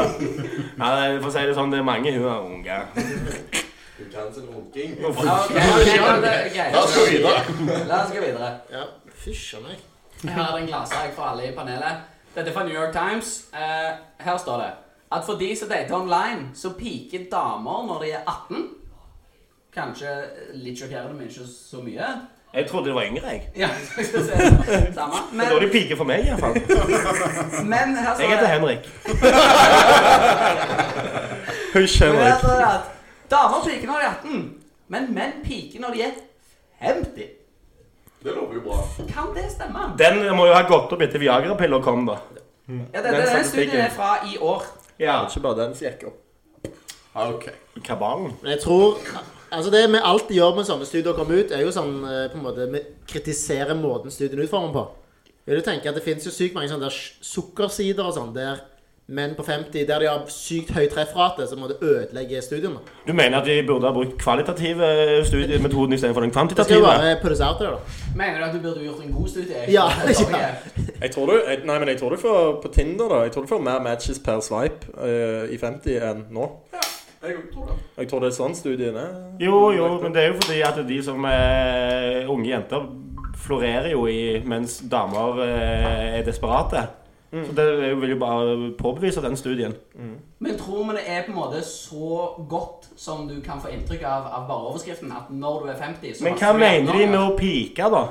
[SPEAKER 5] det- for å si det sånn, det er mange hun har unger.
[SPEAKER 8] Du kan sin runking.
[SPEAKER 2] Ok, ok, da- da- greit.
[SPEAKER 3] La oss gå videre.
[SPEAKER 2] La oss gå videre.
[SPEAKER 7] Ja, Fysj a meg.
[SPEAKER 2] Her er det en gladsak for alle i panelet. Dette er fra New York Times. Eh, her står det at for de som dater online, så piker damer når de er 18. Kanskje litt sjokkerende, men ikke så mye.
[SPEAKER 5] Jeg trodde det var yngre, jeg.
[SPEAKER 2] Ja, skal vi se. Samme.
[SPEAKER 5] Det er
[SPEAKER 2] Men,
[SPEAKER 5] de piker for meg, i hvert fall.
[SPEAKER 2] men her
[SPEAKER 5] Jeg
[SPEAKER 2] står
[SPEAKER 5] heter
[SPEAKER 2] det,
[SPEAKER 5] Henrik.
[SPEAKER 6] Hysj,
[SPEAKER 2] men her
[SPEAKER 6] Henrik.
[SPEAKER 2] står det at damer piker når de er 18, men menn piker når de er 50.
[SPEAKER 8] Det lover jo bra.
[SPEAKER 2] Kan det stemme?
[SPEAKER 5] Den må jo ha gått opp etter Viagra-piller kom, da.
[SPEAKER 2] Ja, denne, denne studien er fra i år.
[SPEAKER 5] Ja.
[SPEAKER 6] Ikke bare den som gikk opp.
[SPEAKER 3] Ok.
[SPEAKER 5] Kabalen.
[SPEAKER 7] Men jeg tror Altså Det vi alltid gjør med sånne studier kommer ut, er jo sånn eh, på en måte Vi kritiserer måten studien utformer på. Vil du tenke at Det finnes jo sykt mange sånne der sj- sukkersider og sånn der menn på 50 der de har sykt høy treffrate, som måtte ødelegge studien. da.
[SPEAKER 5] Du mener at de burde ha brukt kvalitative studiemetoden istedenfor den
[SPEAKER 7] Det skal
[SPEAKER 5] kvantitative?
[SPEAKER 7] jo bare put us out there, da.
[SPEAKER 2] Mener du at du burde gjort en god studie?
[SPEAKER 7] Ja, ja.
[SPEAKER 6] Jeg tror du, jeg, nei, men jeg tror du får på Tinder da Jeg tror du får mer matches per swipe eh, i 50 enn nå.
[SPEAKER 8] Jeg tror det.
[SPEAKER 6] Jeg tror det er sånn studien er.
[SPEAKER 5] Jo, jo, men det er jo fordi at de som er unge jenter florerer jo i Mens damer eh, er desperate.
[SPEAKER 2] Mm.
[SPEAKER 5] Så det vil jo bare påbevise den studien.
[SPEAKER 2] Men tror vi det er på en måte så godt som du kan få inntrykk av av bare overskriften, at når du er 50 så
[SPEAKER 5] Men hva
[SPEAKER 2] passer du
[SPEAKER 5] mener de
[SPEAKER 2] igjen
[SPEAKER 5] med
[SPEAKER 2] nå?
[SPEAKER 5] å pike, da?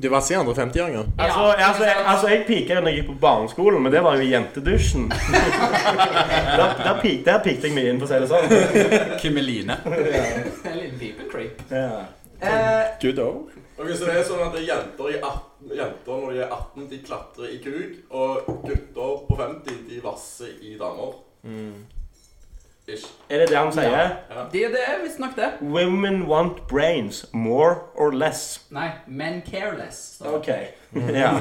[SPEAKER 6] Du var si andre 50-åringer.
[SPEAKER 2] Ja.
[SPEAKER 5] Altså, altså, jeg, altså, jeg pika jo når jeg gikk på barneskolen, men det var jo i jentedusjen. der, der, pik, der pikte jeg mye inn, for å si det sånn.
[SPEAKER 3] Kimmeline.
[SPEAKER 2] En liten pipe creep.
[SPEAKER 5] Ja.
[SPEAKER 2] Eh,
[SPEAKER 6] Good over.
[SPEAKER 8] Ok, så det er sånn at det er jenter, i 18, jenter når de er 18, de klatrer i kuk, og gutter på 50, de vasser i damer.
[SPEAKER 3] Mm.
[SPEAKER 8] Ish.
[SPEAKER 5] Er det det han sier?
[SPEAKER 2] det, det er visstnok det.
[SPEAKER 5] Women want brains, more or less.
[SPEAKER 2] Nei, men careless. står det.
[SPEAKER 5] Ok. Ja.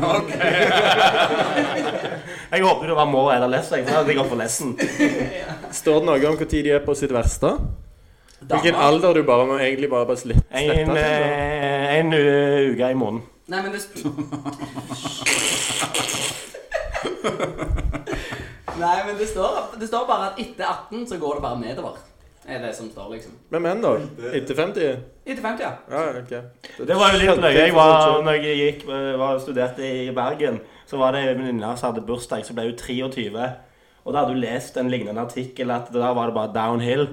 [SPEAKER 5] jeg håper det var more eller less, jeg, for da hadde jeg gått for lessen.
[SPEAKER 6] Står det noe om når de er på sitt verste? Hvilken
[SPEAKER 2] Damer-
[SPEAKER 6] alder du bare må egentlig bare bare slette?
[SPEAKER 5] En, eh, en u- uke i måneden.
[SPEAKER 2] Nei, men det sp- Nei, men det står, det står bare at etter 18 så går det bare nedover. Er det som står, liksom.
[SPEAKER 6] Men menn, da? Etter 50?
[SPEAKER 2] Etter 50, ja.
[SPEAKER 6] Ja, ok.
[SPEAKER 5] Det var jo litt nøye. Jeg
[SPEAKER 6] sånn.
[SPEAKER 5] var, når jeg gikk, eh, var, studerte i Bergen, så var det en venninne som hadde bursdag, så ble hun 23. Og da hadde hun lest en lignende artikkel at da var det bare downhill.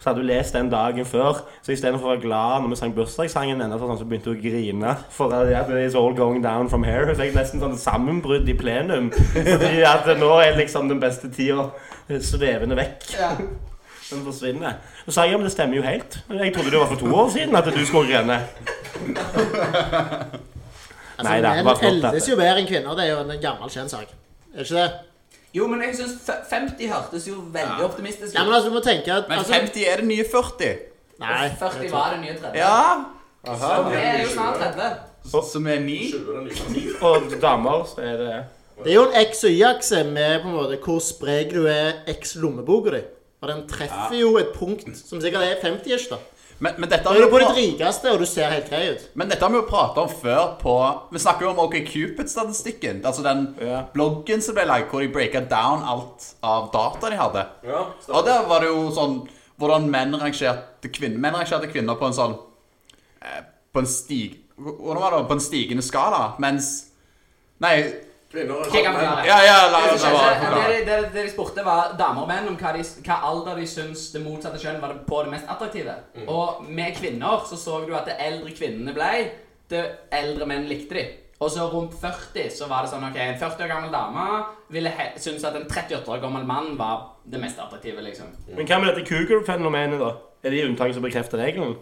[SPEAKER 5] Så hadde hun lest den dagen før, så istedenfor å være glad når vi sang bursdagssangen, enda sånn, så begynte hun å grine. For at at it's all going down from here. Hun fikk nesten sånn sammenbrudd i plenum. Fordi at nå er liksom den beste tida svevende vekk.
[SPEAKER 2] ja.
[SPEAKER 5] Den forsvinner. Så sa jeg ja, men det stemmer jo helt. Jeg trodde det var for to år siden at du skulle grene.
[SPEAKER 7] Altså,
[SPEAKER 5] Nei da, bare flott,
[SPEAKER 7] menn eldes
[SPEAKER 5] dette.
[SPEAKER 7] jo mer enn kvinner. Det er jo en gammel kjent sak. Er det ikke det?
[SPEAKER 2] Jo, men jeg syns 50 hørtes jo veldig optimistisk ut.
[SPEAKER 7] Ja, men altså, du må tenke at
[SPEAKER 3] Men
[SPEAKER 7] altså,
[SPEAKER 3] 50 er det nye 40.
[SPEAKER 7] Nei.
[SPEAKER 2] 40 var det nye 30.
[SPEAKER 3] Ja.
[SPEAKER 2] Det er jo snart 30.
[SPEAKER 3] Som er 9.
[SPEAKER 8] 20 den nye.
[SPEAKER 5] Og damer, så er det
[SPEAKER 7] Det er jo en X- og Y-akse med på en måte hvor sprek du er X lommeboka di. Og den treffer jo et punkt som sikkert er 50-ish, da.
[SPEAKER 3] Men, men, dette
[SPEAKER 7] Da
[SPEAKER 3] har
[SPEAKER 7] er du
[SPEAKER 3] vi jo
[SPEAKER 7] på ditt
[SPEAKER 3] pra-
[SPEAKER 7] rikeste, og du ser helt grei ut.
[SPEAKER 3] men dette har vi jo prata om før på Vi snakker jo om OKCupid-statistikken. Altså den
[SPEAKER 5] Ja.
[SPEAKER 3] bloggen som ble lagd hvor de breaka down alt av data de hadde.
[SPEAKER 8] Ja,
[SPEAKER 3] Og
[SPEAKER 8] stemmer.
[SPEAKER 3] der var det jo sånn Hvordan menn rangerte kvinner Menn rangerte kvinner på en sånn eh, På en stig Hvordan var det? På en stigende skala Mens Nei
[SPEAKER 8] Kvinner sånn
[SPEAKER 2] Hva kan vi gjøre?
[SPEAKER 3] Ja, ja, la
[SPEAKER 2] Det,
[SPEAKER 3] oss
[SPEAKER 2] som
[SPEAKER 3] bare
[SPEAKER 2] skjedde,
[SPEAKER 3] forklare
[SPEAKER 2] det, det, det de spurte, var damer og menn om hva, de, hva alder de syns det motsatte kjønn var det på det mest attraktive. Og med kvinner så så du at det eldre kvinnene ble, det eldre menn likte de. Og så rundt 40 så var det sånn ok, en 40 år gammel dame ville he synes at en 38 år gammel mann var det mest attraktive, liksom.
[SPEAKER 5] Men hva med dette cougar-fenomenet, da? Er det unntaket som bekrefter regelen?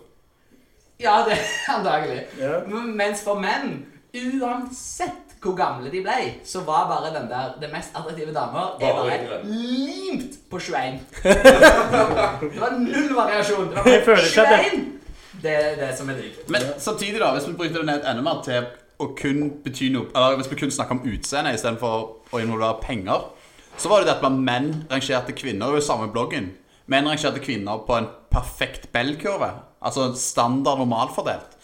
[SPEAKER 2] Ja, det antagelig.
[SPEAKER 5] Ja.
[SPEAKER 2] Men- Mens for menn, uansett hvor gamle de ble, så var bare den der det mest attraktive damer er
[SPEAKER 8] Bare
[SPEAKER 2] bare
[SPEAKER 8] yngre.
[SPEAKER 2] limt på 21. det var null variasjon. Det var
[SPEAKER 5] Jeg føler
[SPEAKER 2] bare
[SPEAKER 5] ikke at det-
[SPEAKER 2] 21! Det er det som er digg.
[SPEAKER 3] Men samtidig da Hvis vi bryter det ned enda mer til Å kun bety noe Eller hvis vi kun snakker om utseende I stedet for å involvere penger Så var det det at man menn rangerte kvinner I samme bloggen Menn rangerte kvinner på en perfekt bellkurve Altså en standard normalfordelt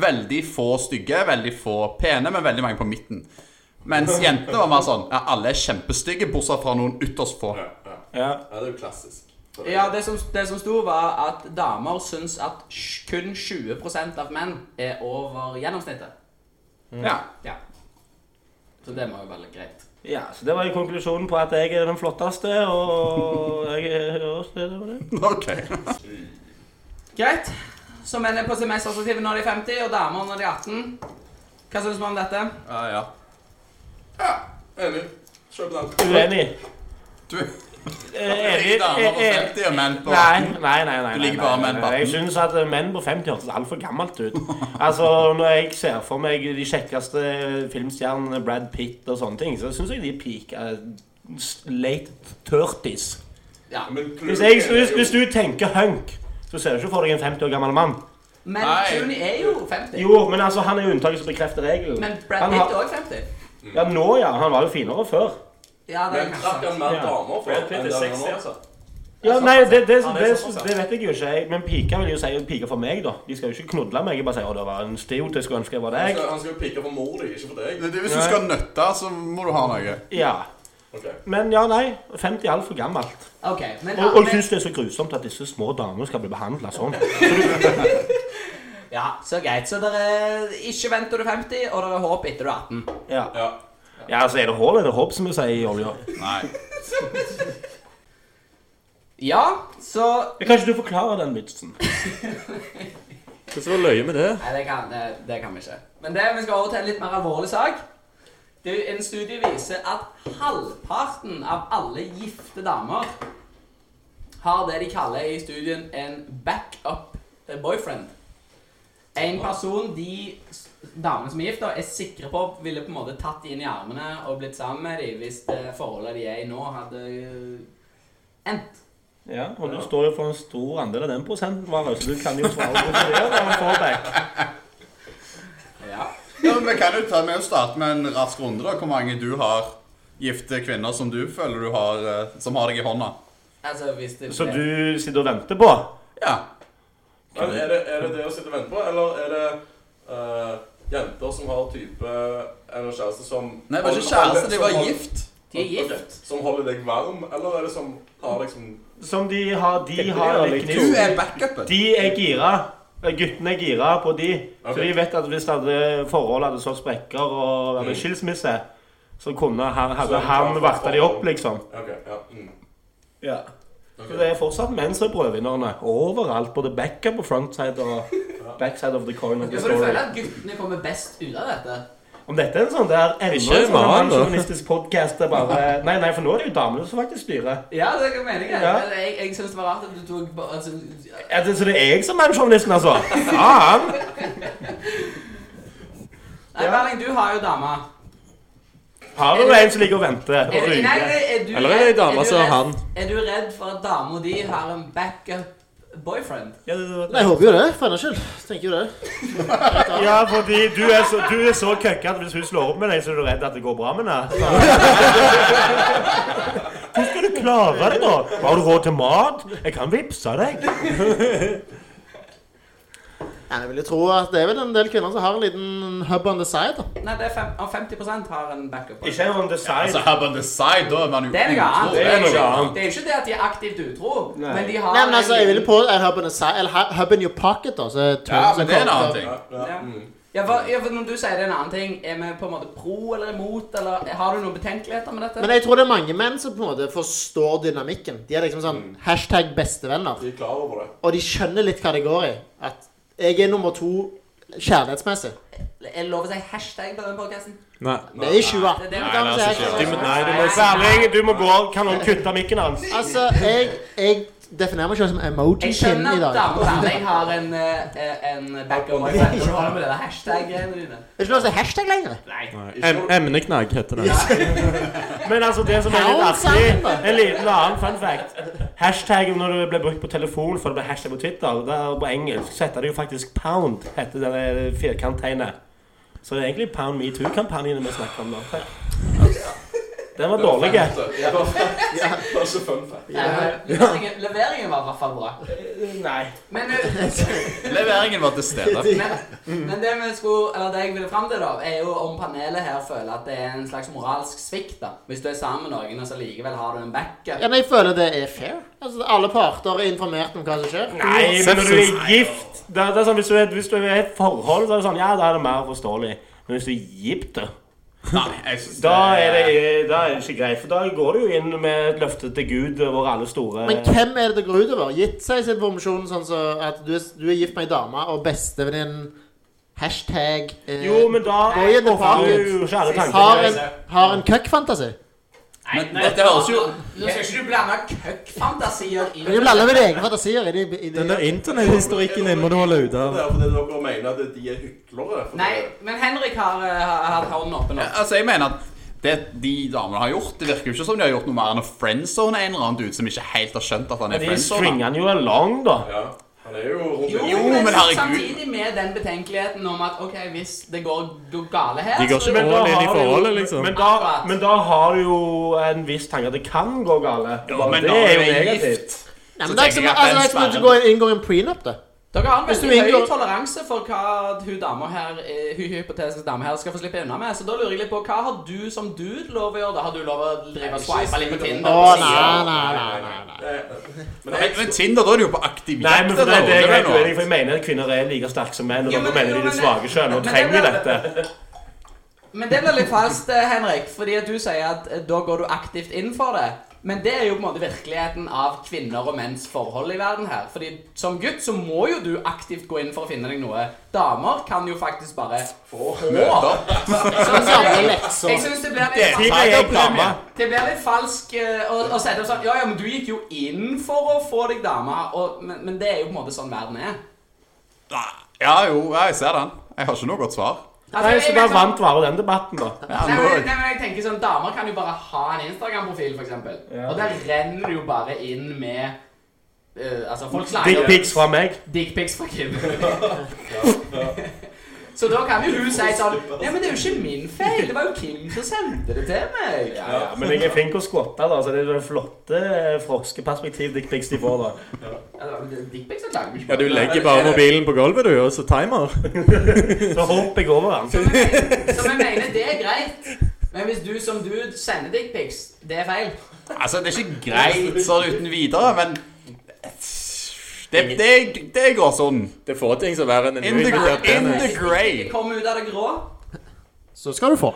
[SPEAKER 3] Veldig få stygge, veldig få pene, men veldig mange på midten. Mens jentene var mer sånn ja, alle er kjempestygge, bortsett fra noen ytterst få.
[SPEAKER 8] Ja, ja.
[SPEAKER 5] Ja.
[SPEAKER 8] ja, det er jo klassisk. Så det-
[SPEAKER 2] Ja, det som, det som sto, var at damer syns at sj- kun 20 av menn er over gjennomsnittet.
[SPEAKER 3] Ja.
[SPEAKER 2] Ja. Så det må jo være litt greit.
[SPEAKER 5] ja, så det var jo konklusjonen på at jeg er den flotteste, og jeg er og så er det var det.
[SPEAKER 3] Ok.
[SPEAKER 2] Greit. Så menn er på semesterstativet når de er 50, og damer når de er 18. Hva syns vi om dette?
[SPEAKER 3] Ja, ja.
[SPEAKER 8] Enig. Kjøp den.
[SPEAKER 5] Uenig.
[SPEAKER 3] Du
[SPEAKER 5] Eh,
[SPEAKER 3] Erik damer på
[SPEAKER 5] eh, eh,
[SPEAKER 3] 50 og menn på
[SPEAKER 5] Nei, nei, nei. nei, nei,
[SPEAKER 3] Du liker
[SPEAKER 5] nei,
[SPEAKER 3] bare
[SPEAKER 5] nei,
[SPEAKER 3] menn på
[SPEAKER 5] nei. Jeg
[SPEAKER 3] 18.
[SPEAKER 5] syns at eh, menn på 50 hørtes altfor gammelt ut. Altså, Når jeg ser for meg de kjekkeste filmstjernene, Brad Pitt og sånne ting, så syns jeg de peaker late 30s.
[SPEAKER 2] Ja.
[SPEAKER 8] Men Clooney
[SPEAKER 5] Hvis, jeg,
[SPEAKER 8] er
[SPEAKER 5] hvis,
[SPEAKER 8] jo-
[SPEAKER 5] hvis du tenker hunk, så ser du ikke for deg en 50 år gammel mann.
[SPEAKER 2] Men
[SPEAKER 3] Nei.
[SPEAKER 2] Clooney er jo 50.
[SPEAKER 5] Jo, men altså, han er jo unntaket som bekrefter regelen.
[SPEAKER 2] Men Brad
[SPEAKER 5] Han
[SPEAKER 2] Pitt er
[SPEAKER 5] har-
[SPEAKER 2] òg 50.
[SPEAKER 5] Ja, nå, ja. Han var jo finere før.
[SPEAKER 2] Ja, det er
[SPEAKER 8] Men trakk
[SPEAKER 2] kanskje
[SPEAKER 8] han mer
[SPEAKER 5] Ja.
[SPEAKER 8] damer for
[SPEAKER 4] Brad Pitt
[SPEAKER 8] enn
[SPEAKER 4] er
[SPEAKER 8] det han
[SPEAKER 4] 60,
[SPEAKER 8] har nå?
[SPEAKER 4] altså.
[SPEAKER 5] Ja, nei, det, det,
[SPEAKER 4] Han
[SPEAKER 5] det,
[SPEAKER 4] er
[SPEAKER 5] det,
[SPEAKER 4] såpass, ja.
[SPEAKER 5] vet jeg jo ikke. Jeg, men piker vil jo si piker for meg, da. De skal jo ikke knudle meg. Jeg bare sier å, det var en idiot. Jeg skulle ønske jeg var
[SPEAKER 8] Han
[SPEAKER 5] deg.
[SPEAKER 8] skal- Han skal jo pike for mor di, ikke for deg.
[SPEAKER 3] Det- det- Hvis du skal nøtte, så må du ha noe.
[SPEAKER 5] Ja.
[SPEAKER 8] Ok.
[SPEAKER 5] Men ja, nei. 50 er altfor gammelt.
[SPEAKER 2] OK. Men,
[SPEAKER 5] Og, og
[SPEAKER 2] men,
[SPEAKER 5] syns det er så grusomt at disse små damene skal bli behandla sånn.
[SPEAKER 2] ja, så greit. Så dere ikke venter du 50, og dere håp etter du er 18.
[SPEAKER 5] Ja.
[SPEAKER 8] Ja.
[SPEAKER 5] ja, altså, er det hull, er det hopp, som vi sier i olja.
[SPEAKER 3] Nei.
[SPEAKER 2] Ja, så
[SPEAKER 5] Kan ikke du forklare den vitsen?
[SPEAKER 6] Hva som var løye med det?
[SPEAKER 2] Nei, det kan, det, det kan vi ikke. Men det, vi skal over til en litt mer alvorlig sak. Det, en studie viser at halvparten av alle gifte damer har det de kaller i studien en backup boyfriend. En person de s- damene som er gift, da, er sikre på ville på en måte tatt de inn i armene og blitt sammen med dem hvis det forholdet de er i nå, hadde eh, endt.
[SPEAKER 5] Ja, og du står jo for en stor andel av den prosenten, Mara, så du kan jo svare på det. når vi får deg.
[SPEAKER 2] Ja.
[SPEAKER 3] Ja, men vi kan jo ta med og starte med en rask runde. da Hvor mange du har gifte kvinner som du føler du har eh, Som har deg i hånda.
[SPEAKER 2] Altså, hvis det
[SPEAKER 5] Så
[SPEAKER 2] ble-
[SPEAKER 5] du sitter og venter på?
[SPEAKER 3] Ja.
[SPEAKER 8] Men er det, er det det å sitte og vente på, eller er det eh, jenter som har type eller kjæreste som
[SPEAKER 3] Nei, det var ikke
[SPEAKER 8] alle-
[SPEAKER 3] kjæreste, de
[SPEAKER 8] som
[SPEAKER 3] var
[SPEAKER 8] alle-
[SPEAKER 3] gift.
[SPEAKER 2] De er gift.
[SPEAKER 8] Som holder deg varm, eller er det som har liksom
[SPEAKER 5] Som de har De
[SPEAKER 6] Tenker
[SPEAKER 5] har
[SPEAKER 6] de har
[SPEAKER 5] litt
[SPEAKER 6] litt
[SPEAKER 5] gnidd.
[SPEAKER 3] Du er backupen.
[SPEAKER 5] De er gira. Eh, Guttene er gira på de. Så
[SPEAKER 8] Ok.
[SPEAKER 5] de vet at hvis det hadde forholdet hadde så sprekker og hadde skilsmisse, så kunne han,
[SPEAKER 8] Så
[SPEAKER 5] hadde
[SPEAKER 8] er det klart
[SPEAKER 5] han
[SPEAKER 8] for
[SPEAKER 5] varta de opp,
[SPEAKER 8] forhold.
[SPEAKER 5] liksom.
[SPEAKER 8] OK, ja. Mm.
[SPEAKER 5] Ja.
[SPEAKER 8] Ok.
[SPEAKER 5] Så det er fortsatt menn som er brødvinnerne. Overalt. Både backup og frontside og backside of the coin. Of
[SPEAKER 2] Ja,
[SPEAKER 5] the
[SPEAKER 2] for du føler
[SPEAKER 5] story.
[SPEAKER 2] at guttene kommer best ut av dette.
[SPEAKER 5] Om dette er en sånn der enda en
[SPEAKER 6] Ikke
[SPEAKER 5] sånn
[SPEAKER 6] vanlig.
[SPEAKER 5] mannsjournalistisk podkast der bare Nei, nei, for nå er det jo damene som faktisk styrer.
[SPEAKER 2] Ja, det er meningen.
[SPEAKER 5] Ja.
[SPEAKER 2] Men Jeg, jeg syns det var rart at du tok bare- altså,
[SPEAKER 5] Er det- Så det er jeg som er journalisten, altså? Faen!
[SPEAKER 2] Nei, Berling, du har jo dame.
[SPEAKER 5] Har du en som liker å vente?
[SPEAKER 2] Er,
[SPEAKER 5] Og
[SPEAKER 2] du- nei,
[SPEAKER 5] ruge?
[SPEAKER 2] er du
[SPEAKER 6] Eller er det ei
[SPEAKER 2] redd-
[SPEAKER 6] dame
[SPEAKER 2] du
[SPEAKER 6] som har
[SPEAKER 2] redd-
[SPEAKER 6] han?
[SPEAKER 2] Er du redd for at dama di har en backup boyfriend?
[SPEAKER 5] Ja, det-
[SPEAKER 7] Nei, jeg håper jo det. For hennes skyld. Tenker jo det.
[SPEAKER 5] Ja, fordi du er så, du er så køkka at hvis hun slår opp med deg, så er du redd at det går bra med henne. Så- Hvordan skal du klare det, da? Har du råd til mat? Jeg kan vippse deg.
[SPEAKER 7] Nei, jeg vil jo tro at det er vel en del kvinner som har en liten hub on the side. da.
[SPEAKER 2] Nei, det er fem, om 50 har en backup boyfriend.
[SPEAKER 5] on the
[SPEAKER 3] Altså, her på the side, da er man jo
[SPEAKER 2] Det er noe annet.
[SPEAKER 3] utro.
[SPEAKER 5] Det er noe annet.
[SPEAKER 2] Det er jo ikke det at de er aktivt utro,
[SPEAKER 5] Nei.
[SPEAKER 2] men de har
[SPEAKER 7] Nei, men altså,
[SPEAKER 2] en
[SPEAKER 7] jeg vil
[SPEAKER 2] liten-
[SPEAKER 7] på en hub on the side, eller hu- hub in your pocket, da. Så
[SPEAKER 3] Ja, men det er en annen ting.
[SPEAKER 8] Ja, ja.
[SPEAKER 2] Ja.
[SPEAKER 8] Mm.
[SPEAKER 2] ja, for, ja, for Når du sier det er en annen ting, er vi på en måte pro eller imot, eller har du noen betenkeligheter med dette?
[SPEAKER 7] Men jeg tror det er mange menn som på en måte forstår dynamikken. De er liksom sånn hashtag bestevenner.
[SPEAKER 8] De er klar over det.
[SPEAKER 7] Og de skjønner litt hva det går i. At jeg er nummer to kjærlighetsmessig.
[SPEAKER 2] Er det lov å si hashtag på den podkasten?
[SPEAKER 6] Nei.
[SPEAKER 7] Det er i 2018.
[SPEAKER 2] Det er det vi
[SPEAKER 3] Nei,
[SPEAKER 2] kan
[SPEAKER 3] nei,
[SPEAKER 7] si
[SPEAKER 3] altså,
[SPEAKER 7] hashtag.
[SPEAKER 3] ikke.
[SPEAKER 5] Nei, du må Særlig, du må gå. Kan noen kutte mikken hans?
[SPEAKER 7] Altså, jeg, jeg definerer meg selv som
[SPEAKER 2] Jeg
[SPEAKER 7] emoji-kinn
[SPEAKER 2] skjønner
[SPEAKER 7] i
[SPEAKER 2] at
[SPEAKER 7] dag.
[SPEAKER 2] damer Berling har en, eh, en backup boyfriend. Når du holder med det der hashtag-greiene dine.
[SPEAKER 7] Det er ikke lov å si hashtag lenger.
[SPEAKER 2] Nei.
[SPEAKER 6] Em Emneknagg heter det.
[SPEAKER 5] Men altså, det som er litt artig En liten annen fun fact. Hashtag når det ble brukt på telefon for det ble hashtag på Twitter, der på engelsk så heter det jo faktisk pound, heter det firkanttegnet. Så det er egentlig Pound metoo-kampanjene vi snakker om nå. Den var dårlig.
[SPEAKER 8] Det var fett. Det var så fun fact.
[SPEAKER 2] Eh, Leveringen, leveringen var i hvert fall bra.
[SPEAKER 5] Nei.
[SPEAKER 2] Men, eh,
[SPEAKER 3] Leveringen var til stede.
[SPEAKER 2] men, men det vi skulle, eller det jeg ville fram til, da, er jo om panelet her føler at det er en slags moralsk svikt. da. Hvis du er sammen med noen, og så likevel har du en backup.
[SPEAKER 7] Ja, men jeg føler det er fair. Altså, alle parter er informert om hva som skjer.
[SPEAKER 5] Nei, men når du er gift det er, det er sånn, hvis, du er, hvis du er i et forhold, så er det sånn Ja, da er det mer forståelig. Men hvis du er gift, da
[SPEAKER 3] Nei, jeg synes
[SPEAKER 5] da er, det, da er det ikke greit. For da går du jo inn med et løfte til Gud over alle store
[SPEAKER 7] Men hvem er det det går utover? Gitt seg sin informasjon sånn så at du er, du er gift med ei dame, og bestevenninnen hashtag eh,
[SPEAKER 5] Jo, men da
[SPEAKER 7] Gå i det
[SPEAKER 5] får
[SPEAKER 7] faget.
[SPEAKER 5] du jo ikke alle
[SPEAKER 7] har
[SPEAKER 5] tankene.
[SPEAKER 7] en, har en køkk-fantasi.
[SPEAKER 3] Men dette høres jo
[SPEAKER 2] Nå skal ikke du blande køkkfantasier inn
[SPEAKER 7] Men de blander med egne fantasier. i de- i de-
[SPEAKER 6] Den der internetthistorikken din må du holde ute av.
[SPEAKER 8] Det er fordi dere mener at de er hyklere. fordi-
[SPEAKER 2] Nei, men Henrik har, eh, har har hatt hånden oppe nå.
[SPEAKER 3] Altså, jeg mener at det de damene har gjort, det virker jo ikke som de har gjort noe mer enn å friendzone en eller annen dude som ikke helt har skjønt at han er
[SPEAKER 5] De
[SPEAKER 3] friendzone.
[SPEAKER 5] stringer den jo along, da.
[SPEAKER 8] Ja, han er jo rundt
[SPEAKER 2] Jo,
[SPEAKER 8] i-
[SPEAKER 3] Jo,
[SPEAKER 2] men,
[SPEAKER 3] men herregud.
[SPEAKER 2] samtidig med den betenkeligheten om at ok, hvis det går g- gale her
[SPEAKER 6] De går
[SPEAKER 2] så-
[SPEAKER 6] ikke all in i
[SPEAKER 5] har du jo-
[SPEAKER 6] forholdet, liksom.
[SPEAKER 5] men, da, men da har du jo en viss tanke at det kan gå galt.
[SPEAKER 3] Ja,
[SPEAKER 5] Og
[SPEAKER 3] men
[SPEAKER 5] det
[SPEAKER 3] da
[SPEAKER 5] er
[SPEAKER 3] er
[SPEAKER 5] jo
[SPEAKER 3] vi
[SPEAKER 5] negativt.
[SPEAKER 7] Nei, men
[SPEAKER 3] Så
[SPEAKER 7] det er ikke som altså,
[SPEAKER 3] tenker jeg at
[SPEAKER 7] det er
[SPEAKER 3] den
[SPEAKER 7] ikke som om du
[SPEAKER 3] sperren-
[SPEAKER 7] går inn- inngår en prenup, da.
[SPEAKER 2] Dere har en
[SPEAKER 7] Hvis du
[SPEAKER 2] veldig høy
[SPEAKER 7] inngår-
[SPEAKER 2] toleranse for hva hun dama her eh, hun hypotetiske dame her skal få slippe unna med. Så da lurer jeg litt på hva har du som dude lov å gjøre? Da har du lov å drive og swipe litt på Tinder?
[SPEAKER 7] Å,
[SPEAKER 2] og si-
[SPEAKER 7] nei, nei, nei, nei. nei.
[SPEAKER 8] nei. Men
[SPEAKER 3] Men,
[SPEAKER 8] jeg,
[SPEAKER 3] men Tinder, da er du jo på aktivitet.
[SPEAKER 5] Nei, men for det,
[SPEAKER 3] da,
[SPEAKER 5] det er jeg
[SPEAKER 3] vel
[SPEAKER 5] helt
[SPEAKER 3] noe
[SPEAKER 5] uenig i, for jeg mener at kvinner er like sterke som menn. Og
[SPEAKER 2] Jo, men-
[SPEAKER 5] dere mener de
[SPEAKER 2] jo,
[SPEAKER 5] er litt
[SPEAKER 2] men-
[SPEAKER 5] svake sjøl og
[SPEAKER 2] men det
[SPEAKER 5] trenger
[SPEAKER 2] blir-
[SPEAKER 5] dette.
[SPEAKER 2] Men det blir litt falskt, eh, Henrik, fordi at du sier at eh, da går du aktivt inn for det. Men det er jo på en måte virkeligheten av kvinner og menns forhold i verden her. Fordi som gutt så må jo du aktivt gå inn for å finne deg noe. Damer kan jo faktisk bare få.
[SPEAKER 3] møter.
[SPEAKER 2] Sånn, så
[SPEAKER 7] Gamle
[SPEAKER 2] jeg
[SPEAKER 7] lekser.
[SPEAKER 2] jeg syns det blir
[SPEAKER 3] Det
[SPEAKER 2] litt
[SPEAKER 3] er
[SPEAKER 2] falskt.
[SPEAKER 5] Tidligere jeg dame.
[SPEAKER 2] Det blir litt falsk eh, å, å sette opp sånn Ja, ja, men du gikk jo inn for å få deg dame, og, men, men det er jo på en måte sånn verden er.
[SPEAKER 3] Ja, jo, ja, jeg ser den. Jeg har ikke noe godt svar.
[SPEAKER 2] Altså,
[SPEAKER 5] Nei,
[SPEAKER 2] jeg
[SPEAKER 5] så
[SPEAKER 2] vet
[SPEAKER 5] da
[SPEAKER 2] sånn-
[SPEAKER 5] vant bare den debatten, da.
[SPEAKER 3] Ja,
[SPEAKER 2] Nei,
[SPEAKER 3] nå,
[SPEAKER 2] men, nei, men jeg tenker sånn, Damer kan jo bare ha en Instagram-profil, for eksempel Og der renner det jo bare inn med eh, Altså, folk
[SPEAKER 5] Dick
[SPEAKER 2] slager
[SPEAKER 5] pics fra meg.
[SPEAKER 2] Dickpics fra Kim. Så da kan jo hun si sånn Nei, men det er jo ikke min feil. Det var jo Kim som sendte det til meg.
[SPEAKER 5] Ja, ja, men jeg er flink å skvotte, da, så det er det flotte eh, froskeperspektiv dick pics de får, da.
[SPEAKER 2] Altså, Dickpics er laget
[SPEAKER 6] Ja, du legger bare mobilen på gulvet, du, og så timer.
[SPEAKER 5] Så hopper jeg over den.
[SPEAKER 2] Så vi mener det er greit. Men Men hvis du som dude sender dickpics, det er feil.
[SPEAKER 3] Altså, det er ikke greit sånn uten videre, men Det, det, det går sånn.
[SPEAKER 6] Det er få ting som er verre enn en
[SPEAKER 3] In the,
[SPEAKER 6] uinvitert
[SPEAKER 3] gr- in
[SPEAKER 6] penis.
[SPEAKER 3] the grey.
[SPEAKER 2] Det kommer ut av det grå.
[SPEAKER 7] Så skal du få.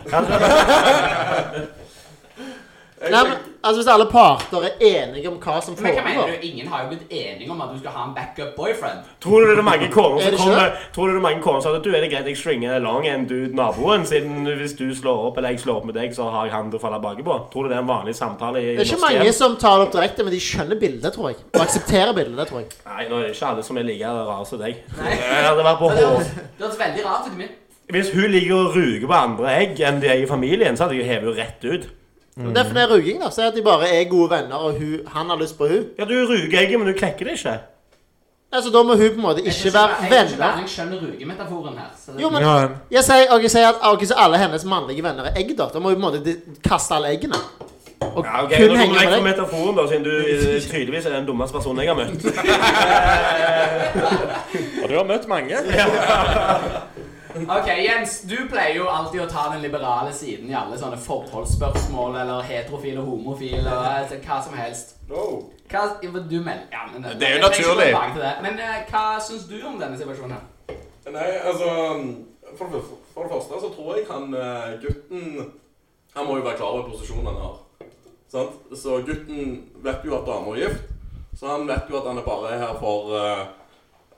[SPEAKER 8] Jeg
[SPEAKER 7] Nei, men,
[SPEAKER 8] tenker-
[SPEAKER 7] altså Hvis alle parter er enige om hva som
[SPEAKER 2] Men hva mener
[SPEAKER 7] foregår
[SPEAKER 2] du? Ingen har jo blitt enige om at du skal ha en backup boyfriend.
[SPEAKER 5] Tror du det er mange koner
[SPEAKER 7] Er
[SPEAKER 5] som
[SPEAKER 7] det ikke
[SPEAKER 5] kommer Tror du det er mange koner som sier at du er det greit jeg swinger along en dude naboen, siden hvis du slår opp eller jeg slår opp med deg, så har jeg han til å falle baki på? Tror du det er en vanlig samtale i
[SPEAKER 7] Det er ikke
[SPEAKER 5] norske
[SPEAKER 7] mange
[SPEAKER 5] hjem?
[SPEAKER 7] som tar det opp direkte, men de skjønner bildet, tror jeg. Og aksepterer bildet, tror jeg.
[SPEAKER 5] Nei, nå er det ikke alle som er like rare som deg.
[SPEAKER 2] Nei.
[SPEAKER 5] Jeg hadde vært på
[SPEAKER 2] Det
[SPEAKER 5] hår.
[SPEAKER 2] høres det høres veldig rart ut i mitt.
[SPEAKER 5] Hvis hun ligger og ruger på andre egg enn de er i familien, så hadde jeg jo hevet henne rett ut.
[SPEAKER 7] Men Derfor det er ruging. da, Si at de bare er gode venner, og hun, han har lyst på hun.
[SPEAKER 5] Ja, du ruger egget, men du klekker det ikke.
[SPEAKER 7] Altså Da må hun på en måte
[SPEAKER 2] Jeg
[SPEAKER 7] ikke
[SPEAKER 2] tror
[SPEAKER 7] være
[SPEAKER 2] jeg tror ikke
[SPEAKER 7] venner.
[SPEAKER 2] Erling skjønner rugemetaforen her. Så det,
[SPEAKER 7] Jo, men jeg sier, og jeg sier at ok, så alle hennes mannlige venner er egg, da. Da må hun på en måte de- kaste alle eggene. Og
[SPEAKER 5] Ja, ok, Nå
[SPEAKER 7] kun
[SPEAKER 5] kommer
[SPEAKER 7] henge
[SPEAKER 5] jeg fra
[SPEAKER 7] med deg.
[SPEAKER 5] metaforen, da, siden du eh, tydeligvis er den dummeste personen jeg har møtt.
[SPEAKER 6] Og du har møtt mange.
[SPEAKER 2] Ok, Jens, du pleier jo alltid å ta den liberale siden i alle sånne forholdsspørsmål eller heterofile, homofile og altså, hva som helst.
[SPEAKER 8] No.
[SPEAKER 2] Hva, ja, men du mener, ja, men,
[SPEAKER 3] Det er
[SPEAKER 2] jeg trenger ikke
[SPEAKER 3] jo
[SPEAKER 2] gå
[SPEAKER 3] naturlig.
[SPEAKER 2] tilbake til det. Men eh, hva syns du om denne situasjonen? her?
[SPEAKER 8] Nei, altså For det, fyr- for det første så tror jeg han eh, gutten Han må jo være klar over posisjonen han har. Sant? Så gutten vet jo at dama er gift, så han vet jo at han er bare er her for eh,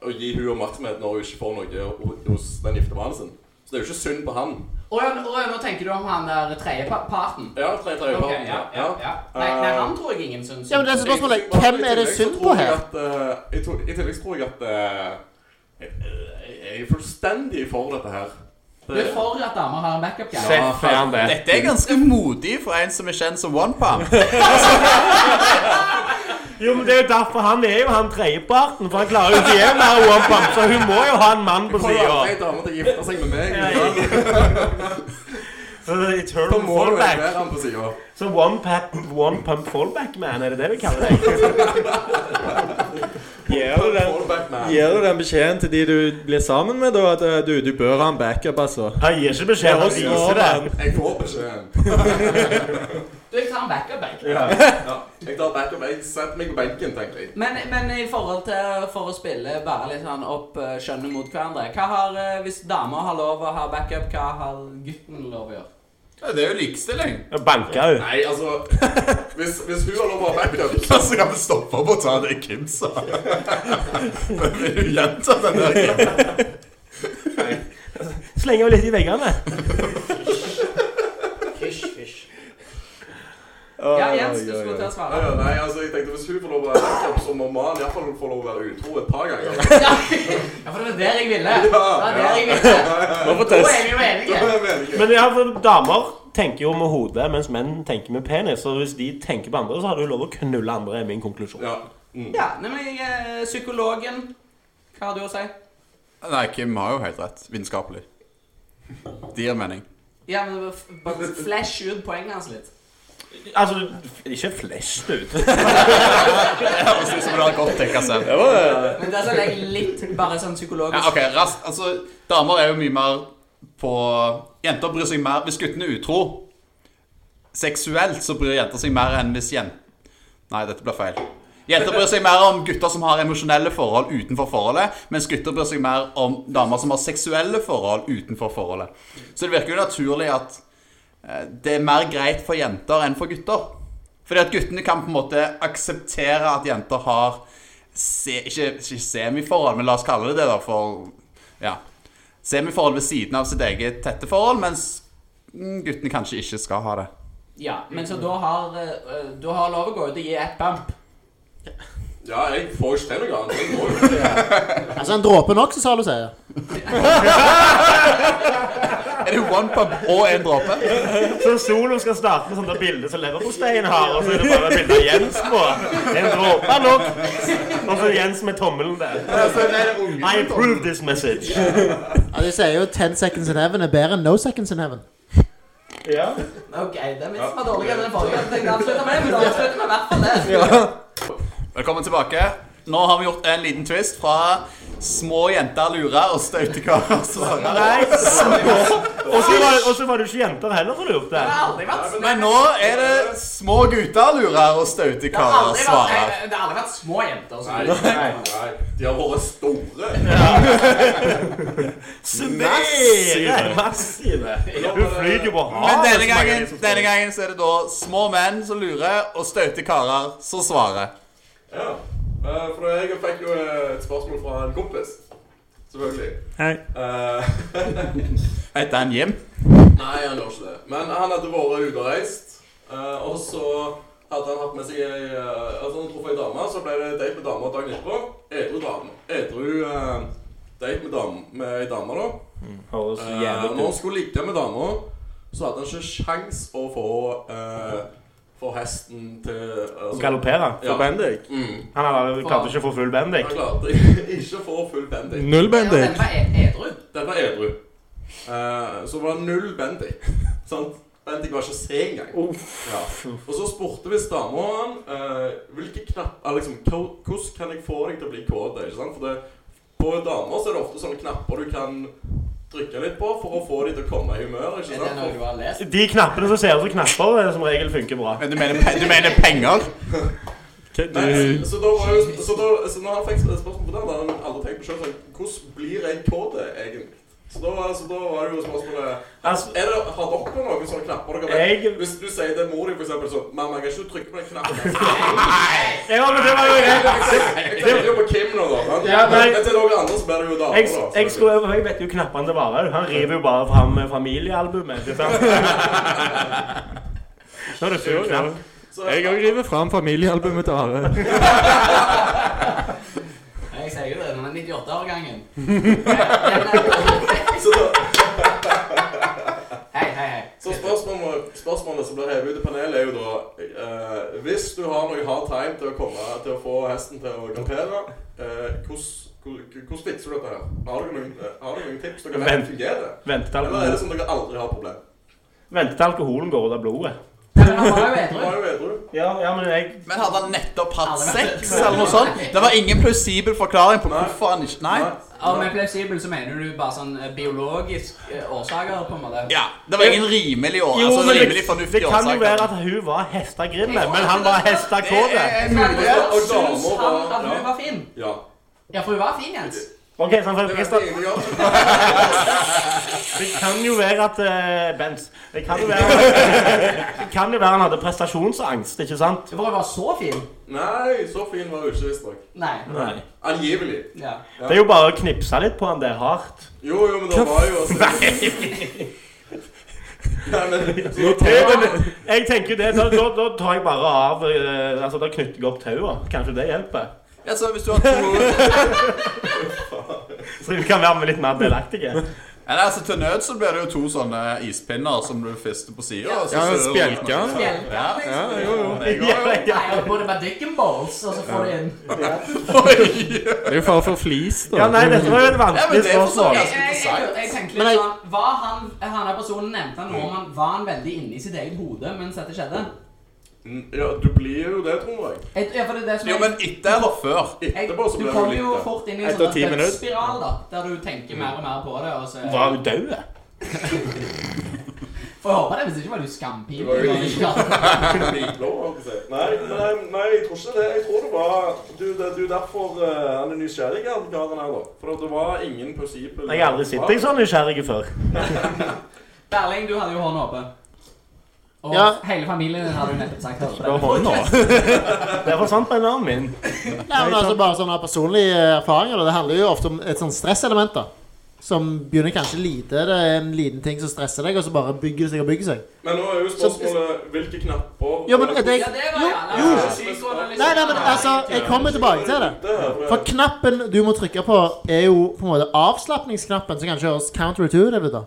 [SPEAKER 8] å gi hun oppmerksomhet når hun ikke får noe ho- hos den gifte mannen sin. Så det er jo ikke synd på han.
[SPEAKER 2] Og, og, nå tenker du om han der tredje pa- parten.
[SPEAKER 8] Ja, tre tre
[SPEAKER 2] Ok, ja, ja, ja. Nei, nei, han tror jeg ingen syns
[SPEAKER 7] Ja, men det er så spørsmålet hvem er det synd på her?
[SPEAKER 8] I to- i tillegg så tror jeg at eh, jeg, jeg er fullstendig for dette her.
[SPEAKER 2] Du er for at damer har en backup guy.
[SPEAKER 5] Seff er han det.
[SPEAKER 3] Dette er ganske modig for en som er kjent som One Pump.
[SPEAKER 5] Jo, men det er jo derfor han er jo han tredjeparten, for han klarer jo ikke å gjøre mer one-pump, så hun må jo ha en mann på
[SPEAKER 8] Får jo aldri
[SPEAKER 5] sida.
[SPEAKER 8] ei dame til å gifte seg med meg. Da
[SPEAKER 5] Eternal
[SPEAKER 8] må du
[SPEAKER 5] fallback.
[SPEAKER 8] være han på sida.
[SPEAKER 5] Så one, pap, one pump fallback man, er det det vi kaller det?
[SPEAKER 6] Gir du den,
[SPEAKER 8] Fallback man.
[SPEAKER 6] gir du den beskjeden til de du blir sammen med, da? At eh, du, du bør ha en backup, altså?
[SPEAKER 5] Han gir ikke beskjed, han viser det.
[SPEAKER 8] Jeg får beskjeden.
[SPEAKER 2] Du, jeg tar en backup guy.
[SPEAKER 8] Ja. Jeg tar back up. Jeg setter meg på benken, tenker jeg.
[SPEAKER 2] Men, men i forhold til for å spille bare litt sånn opp eh, skjønnet mot hverandre Hva har, eh, Hvis damer har lov å ha backup, hva har gutten lov å gjøre?
[SPEAKER 3] Ja, det er jo likestilling.
[SPEAKER 5] Banka hun.
[SPEAKER 8] Nei, altså Hvis, hvis hun har lov å ha backup
[SPEAKER 3] Hva så kan vi stoppe opp og ta det Kim sa? Men Vil du gjenta den der? Kim?
[SPEAKER 5] Slenger hun litt i veggene.
[SPEAKER 7] Fysj, fysj.
[SPEAKER 2] Ja, Jens, du skulle til å
[SPEAKER 8] Nei,
[SPEAKER 2] svare.
[SPEAKER 8] nei, nei, altså jeg tenkte hvis hun får lov å ha backup, så må mannen iallfall få lov å være utro et par ganger.
[SPEAKER 2] Ja, for det var der jeg ville. Det var der jeg ville.
[SPEAKER 6] Nå får
[SPEAKER 2] Da
[SPEAKER 6] test.
[SPEAKER 2] er vi jo
[SPEAKER 8] Det
[SPEAKER 2] enige.
[SPEAKER 8] er meningen.
[SPEAKER 5] Men ja, for damer tenker jo med hodet, mens menn tenker med penis. Så hvis de tenker på andre, så har du lov å knulle andre, er min konklusjon.
[SPEAKER 8] Ja.
[SPEAKER 2] Ja, nemlig eh, psykologen. Hva har du å si?
[SPEAKER 3] Nei, Kim har jo helt rett. Vitenskapelig. Det gir mening.
[SPEAKER 2] Ja, men f- bare flash ut poenget hans litt.
[SPEAKER 5] Altså, du- ikke flesh ut.
[SPEAKER 3] Det høres ut som du har godt tenkt selv.
[SPEAKER 6] Det var eh,
[SPEAKER 2] Men det er sånn jeg litt bare sånn psykologisk.
[SPEAKER 3] Ja, ok, raskt. Altså, damer er jo mye mer på Jenter bryr seg mer Hvis gutten er utro seksuelt, så bryr jenter seg mer enn hvis jen... Nei, dette blir feil. Jenter bryr seg mer om gutter som har emosjonelle forhold utenfor forholdet, mens gutter bryr seg mer om damer som har seksuelle forhold utenfor forholdet. Så det virker jo naturlig at eh, det er mer greit for jenter enn for gutter. Fordi at guttene kan på en måte akseptere at jenter har se, ikke, ikke semiforhold, men la oss kalle det det, da, for ja, semiforhold ved siden av sitt eget tette forhold, mens mm, guttene kanskje ikke skal ha det.
[SPEAKER 2] Ja, men så da har eh, eh, Du har lov å gå ut og gi ett bump.
[SPEAKER 8] ja, jeg får jo ikke til noe annet. Jeg må jo det.
[SPEAKER 7] Altså en dråpe nok, så sa du sier.
[SPEAKER 3] Er det one pub og en dråpe?
[SPEAKER 5] Så Solo skal starte med sånne bilder som leverposteien har, og så er det bare bilde av Jens på. En dråpe nok. Og så Jens med tommelen der. I approve this message.
[SPEAKER 7] Ja, de sier jo 10 seconds in heaven er bedre enn no seconds in heaven.
[SPEAKER 5] Ja.
[SPEAKER 2] Ok, det er mitt som er dårligere enn den forrige. Jeg tenkte avslutte med det, men da avslutter vi i hvert fall det.
[SPEAKER 3] Velkommen tilbake. Nå har vi gjort en liten twist fra små jenter lurer og staute karer svarer.
[SPEAKER 5] Nei, og så var, og så var det jo ikke jenter heller som lurte.
[SPEAKER 2] Det har aldri vært
[SPEAKER 3] Men nå er det små gutter lurer og staute
[SPEAKER 2] det har
[SPEAKER 3] karer
[SPEAKER 2] aldri vært,
[SPEAKER 3] svarer.
[SPEAKER 2] det har aldri vært små jenter som
[SPEAKER 8] Nei,
[SPEAKER 2] lurer.
[SPEAKER 8] nei, nei. De har vært store.
[SPEAKER 5] Svære! Massive. Hun flyr jo på
[SPEAKER 3] Men
[SPEAKER 5] havet.
[SPEAKER 3] denne gangen, denne gangen så er det da små menn som lurer, og staute karer som svarer.
[SPEAKER 8] Ja. Eh, For jeg fikk jo eh, et spørsmål fra en kompis. Selvfølgelig.
[SPEAKER 1] Hei.
[SPEAKER 8] Eh,
[SPEAKER 3] Heter han Jim?
[SPEAKER 8] Nei, han gjør ikke det. Men han hadde vært ute og reist, eh, og så hadde han hatt med seg ei eh, Altså, han traff ei dame, så ble det date med dama dagen etterpå. Edru dame. Edru eh, date med, dam, med ei dame, da.
[SPEAKER 5] Høres
[SPEAKER 8] Eh, og
[SPEAKER 5] jævlig ut.
[SPEAKER 8] når han skulle ligge med dama, så hadde han ikke sjans å få eh, Få hesten til
[SPEAKER 5] Å
[SPEAKER 8] altså,
[SPEAKER 5] galoppere.
[SPEAKER 8] Ja.
[SPEAKER 6] Bendik.
[SPEAKER 8] Mm.
[SPEAKER 5] Han hadde- klarte ikke å få full
[SPEAKER 8] Han
[SPEAKER 5] Bendik.
[SPEAKER 8] klarte ikke å få full bendik.
[SPEAKER 6] Null
[SPEAKER 2] Ja, den
[SPEAKER 6] Bendik.
[SPEAKER 2] var e- edru.
[SPEAKER 8] Den var edru. Eh, så var det null bendik. Sant? Bendik var ikke se engang. Ja. Og så spurte visst dama han eh, hvilke knapp, eller liksom, hva- Hvordan kan jeg få deg til å bli kåt? Ikke sant? For det, på damer så er det ofte sånne knapper du kan trykke litt på for å få dem til å komme i humør. Ikke
[SPEAKER 2] Er det noe
[SPEAKER 8] sant?
[SPEAKER 2] du har lest?
[SPEAKER 5] De knappene som ser ut som knapper, eh, som regel funker bra.
[SPEAKER 3] Men Du mener, pe- du mener penger?
[SPEAKER 8] Nei, så, så, da var jo, så, da, så når han fikk et spørsmål på det, hadde han aldri tenkt på sjøl sånn, hvordan blir jeg kåt egentlig? Så da, var- så da var det jo spørsmålet
[SPEAKER 5] Altså,
[SPEAKER 8] er det, Har dere noen sånne knapper dere vet?
[SPEAKER 5] jeg
[SPEAKER 8] Hvis du sier til mor din for eksempel sånn 'Mamma, jeg kan ikke trykke på den knappen.'
[SPEAKER 5] Ja, men det var jo jeg.
[SPEAKER 8] Jeg tenker jo på Kim nå, da. sant?
[SPEAKER 5] Ja, nei.
[SPEAKER 8] Men til noen andre så blir det jo damer,
[SPEAKER 5] Jeg,
[SPEAKER 8] da.
[SPEAKER 5] jeg, skulle, jeg vet jo knappene det varer. Han river jo bare fram eh, familiealbumet. ikke sant? Nå er det full knapp.
[SPEAKER 8] Så-
[SPEAKER 6] Jeg òg river fram familiealbumet til Are.
[SPEAKER 2] Jeg sier jo det, den er 98-årgangen.
[SPEAKER 8] Så,
[SPEAKER 2] Hei, hei, hei.
[SPEAKER 8] så spørsmålet, spørsmålet som blir hevet ut i panelet, er jo da eh, Hvis du har noe hard time til å komme til å få hesten til å galoppere, eh, hvordan hvordan fikser du dette her? Har dere noen, eh, har dere noen tips dere vet
[SPEAKER 5] Vent.
[SPEAKER 8] fungerer?
[SPEAKER 5] Vente
[SPEAKER 8] Eller er
[SPEAKER 5] til
[SPEAKER 8] det
[SPEAKER 5] alkoholen,
[SPEAKER 8] som dere aldri har problem?
[SPEAKER 5] vente til alkoholen går ut av blodet.
[SPEAKER 2] Men han var jo
[SPEAKER 8] Du
[SPEAKER 2] edru.
[SPEAKER 8] var jo edru.
[SPEAKER 5] Ja, ja, men jeg
[SPEAKER 3] Men hadde han nettopp hatt sex, eller noe sånt? Det var ingen plausibel forklaring på hvorfor han ikke Nei?
[SPEAKER 2] Og med fleksibel så mener du bare sånn eh, biologisk eh, årsaker, på en måte.
[SPEAKER 3] Ja, det var ingen rimelig år,
[SPEAKER 5] Jo,
[SPEAKER 3] altså
[SPEAKER 5] men
[SPEAKER 3] rimelig
[SPEAKER 5] det, det
[SPEAKER 3] fornuftig
[SPEAKER 5] kan jo være
[SPEAKER 3] årsak.
[SPEAKER 5] at hun var hestegrinne, men han var hestakåte.
[SPEAKER 3] er
[SPEAKER 2] Men
[SPEAKER 3] mulig.
[SPEAKER 8] mulighet, og
[SPEAKER 2] syns han
[SPEAKER 8] damer var-
[SPEAKER 2] at
[SPEAKER 8] ja.
[SPEAKER 2] hun var fin?
[SPEAKER 8] Ja.
[SPEAKER 2] Ja, for hun var fin, Jens.
[SPEAKER 5] Ok, så han får
[SPEAKER 8] Det vet
[SPEAKER 5] register-
[SPEAKER 8] jeg ingenting om.
[SPEAKER 5] Det kan jo være at eh, Benz Det kan jo være Det kan jo være han hadde prestasjonsangst, ikke sant?
[SPEAKER 2] For hun var så fin.
[SPEAKER 8] Nei, så fin var hun ikke, visstnok.
[SPEAKER 2] Nei.
[SPEAKER 5] Nei.
[SPEAKER 8] Angivelig.
[SPEAKER 2] Ja.
[SPEAKER 5] Det er jo bare å knipse litt på han der hardt.
[SPEAKER 8] Jo, jo, men det var jo altså Nei, men så,
[SPEAKER 5] Jeg tenker jo det, da, da, da tar jeg bare av eh, Altså, Da knytter jeg opp tauet. Kanskje det hjelper?
[SPEAKER 3] Ja, så hvis du har to
[SPEAKER 5] Så vi kan være med litt mer delaktige.
[SPEAKER 3] Ja, nei, altså Til nød så blir det jo to sånne ispinner som du fister på sida.
[SPEAKER 6] Ja, spjelka.
[SPEAKER 3] Ja,
[SPEAKER 6] Ja, jo, jo.
[SPEAKER 2] Nei, og både med dick and balls, og så får du inn
[SPEAKER 6] Det er jo fare for flis, da.
[SPEAKER 5] Ja, nei, dette var jo et
[SPEAKER 3] Ja, men
[SPEAKER 5] vanskelig
[SPEAKER 3] det er for så
[SPEAKER 5] spørsmål.
[SPEAKER 2] Jeg,
[SPEAKER 3] vidt-
[SPEAKER 2] jeg, jeg, jeg tenkte
[SPEAKER 7] Men
[SPEAKER 2] litt
[SPEAKER 7] jeg-
[SPEAKER 2] sånn Var han han der personen nevnte han nordmann, var han veldig inne i sitt eget hode mens dette skjedde?
[SPEAKER 8] ja, du blir jo det, tror jeg.
[SPEAKER 2] Jeg, ja, for det er det som
[SPEAKER 3] Jo,
[SPEAKER 2] jeg-
[SPEAKER 3] men etter eller før?
[SPEAKER 2] jeg,
[SPEAKER 8] Etterpå
[SPEAKER 2] du
[SPEAKER 8] så blir det jo
[SPEAKER 2] kommer jo
[SPEAKER 8] litt det.
[SPEAKER 2] fort inn i en
[SPEAKER 6] Etter
[SPEAKER 2] sånn
[SPEAKER 6] ti minutter.
[SPEAKER 2] dødsspiral, da, der du tenker mer og mer på det. Og så,
[SPEAKER 5] Var hun død?
[SPEAKER 2] Får jeg håpe det, hvis ikke var du skampipe.
[SPEAKER 8] Det var jo
[SPEAKER 2] når du ikke klarte-
[SPEAKER 8] Blå, holdt jeg på å si. Nei, nei, nei, jeg tror ikke det. Jeg tror det var Du, det, du derfor eh, han er nysgjerrig, han karen her, da. For det var ingen plausibel
[SPEAKER 5] Jeg har aldri sett deg så nysgjerrig før.
[SPEAKER 2] Berling, du hadde jo hånda oppe. Og
[SPEAKER 7] Ja.
[SPEAKER 2] hele familien din hadde jo nettopp sagt det.
[SPEAKER 5] Det forsvant på en arm min.
[SPEAKER 7] Nei, men altså bare sånne personlige eh, erfaringer. da. Det handler jo ofte om et sånn stresselement. da Som begynner kanskje lite. Det er en liten ting som stresser deg, og så bare bygger det seg og bygger seg.
[SPEAKER 8] Men nå er jo spørsmålet hvilke knapper
[SPEAKER 7] Ja, men er det,
[SPEAKER 2] Ja, det var
[SPEAKER 7] jo,
[SPEAKER 2] jævla
[SPEAKER 7] jo.
[SPEAKER 2] psykoanalyse.
[SPEAKER 7] Nei, nei, men altså, jeg kommer tilbake til det. For
[SPEAKER 8] eh?
[SPEAKER 7] knappen du må trykke på, er jo på en måte avslapningsknappen, som kanskje høres counterintuitive ut. da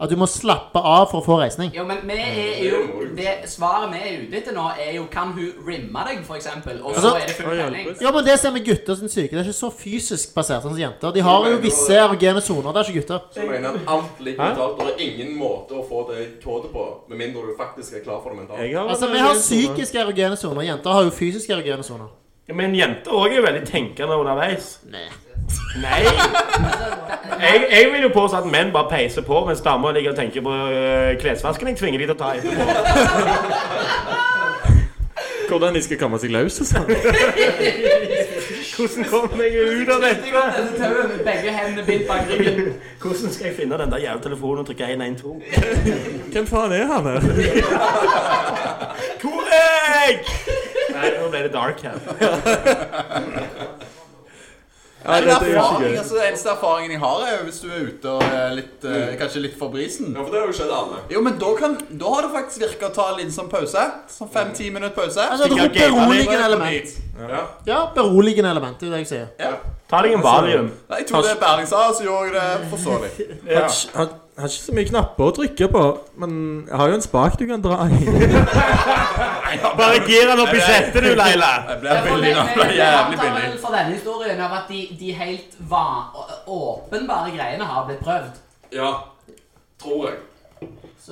[SPEAKER 7] At du må slappe av for å få reisning.
[SPEAKER 2] Jo, men vi er jo, det svaret vi er ute etter nå, er jo kan hun rimme deg, for eksempel? Og så
[SPEAKER 7] Altså-
[SPEAKER 2] er det full
[SPEAKER 6] Oi,
[SPEAKER 2] telling.
[SPEAKER 6] hjelpes.
[SPEAKER 7] Ja, men Det ser vi gutter som syke. Det er ikke så fysisk basert sånn som jenter. De har jo visse erogene soner. Det er ikke gutter.
[SPEAKER 8] Så mener han alt ligger mentalt. Det er ingen måte å få det kåte på, med mindre du faktisk er klar for det mentalt.
[SPEAKER 6] Jeg har
[SPEAKER 7] Altså, Vi har psykiske erogene soner. Jenter har jo fysiske erogene soner.
[SPEAKER 5] Men jenter òg er jo veldig tenkende underveis.
[SPEAKER 7] Nei.
[SPEAKER 5] Nei. Jeg, jeg vil jo påstå at menn bare peiser på, mens damer ligger og tenker på øh, klesvasken jeg tvinger de til å ta etterpå.
[SPEAKER 6] Hvordan de skal komme seg løs og sånn.
[SPEAKER 5] Hvordan kommer jeg ut av dette?
[SPEAKER 2] Dette tauet med begge hendene bindt bak ryggen.
[SPEAKER 5] Hvordan skal jeg finne den der jævla telefonen og trykke 112?
[SPEAKER 6] Hvem faen er han her?
[SPEAKER 5] Hvor er jeg? Nei, nå ble det dark her.
[SPEAKER 6] Nei,
[SPEAKER 3] Men
[SPEAKER 6] dette er jo
[SPEAKER 3] erfaring,
[SPEAKER 6] ikke gøy.
[SPEAKER 3] altså, den eneste erfaringen jeg har, er jo hvis du er ute og er litt, eh, kanskje litt for brisen.
[SPEAKER 8] Ja, for det har jo skjedd alle.
[SPEAKER 3] Jo, men da, kan, da har det faktisk virka å ta en liten sånn pause. Sånn fem-ti minutter pause.
[SPEAKER 7] Altså,
[SPEAKER 5] Stikker
[SPEAKER 7] et
[SPEAKER 5] gaten
[SPEAKER 7] beroligende
[SPEAKER 3] ned.
[SPEAKER 7] element.
[SPEAKER 8] Ja.
[SPEAKER 7] Ja, beroligende element. Det er jo det jeg sier.
[SPEAKER 5] Ta deg en valium.
[SPEAKER 3] Nei, Jeg tok det Berling sa, så gjorde jeg det for så vidt.
[SPEAKER 5] Ja.
[SPEAKER 6] Han har ikke så mye knapper å trykke på, men jeg har jo en spak du kan dra i.
[SPEAKER 5] Bare gir han opp i settet, du, Leila.
[SPEAKER 3] Jeg ble billig nå. Jeg ble jævlig billig.
[SPEAKER 2] For denne historien av at de, de helt va å- åpenbare greiene har blitt prøvd.
[SPEAKER 8] ja. Tror jeg.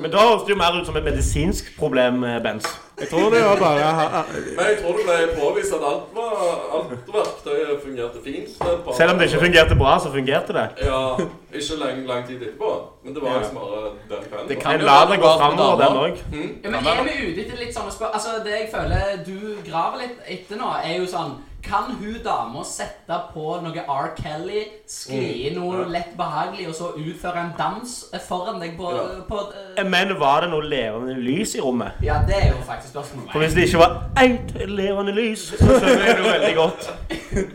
[SPEAKER 5] Men da høres det jo mer ut som et medisinsk problem, eh, Bens.
[SPEAKER 6] Jeg tror det var bare ha-
[SPEAKER 8] Men jeg tror det ble påvist at alt, var, alt verktøyet fungerte fint.
[SPEAKER 5] Selv om det ikke fungerte bra, så fungerte det.
[SPEAKER 8] Ja, ikke lang, lang tid etterpå. Men det var
[SPEAKER 5] Ja.
[SPEAKER 8] liksom bare den kvelden.
[SPEAKER 3] Det
[SPEAKER 8] da.
[SPEAKER 5] En
[SPEAKER 3] kan-
[SPEAKER 5] lader går framover, den òg.
[SPEAKER 2] Ja, men er vi ute etter litt sånne spør... Altså, det jeg føler du graver litt etter nå, er jo sånn Kan hun dama sette på noe R. Kelly, skli i noe lett behagelig, og så utføre en dans foran deg på,
[SPEAKER 8] Ja.
[SPEAKER 2] på eh,
[SPEAKER 5] Men var det noe levende lys i rommet?
[SPEAKER 2] Ja, det er jo faktisk spørsmålet.
[SPEAKER 5] For hvis det ikke var ett levende lys, så skjønner jeg det jo veldig godt.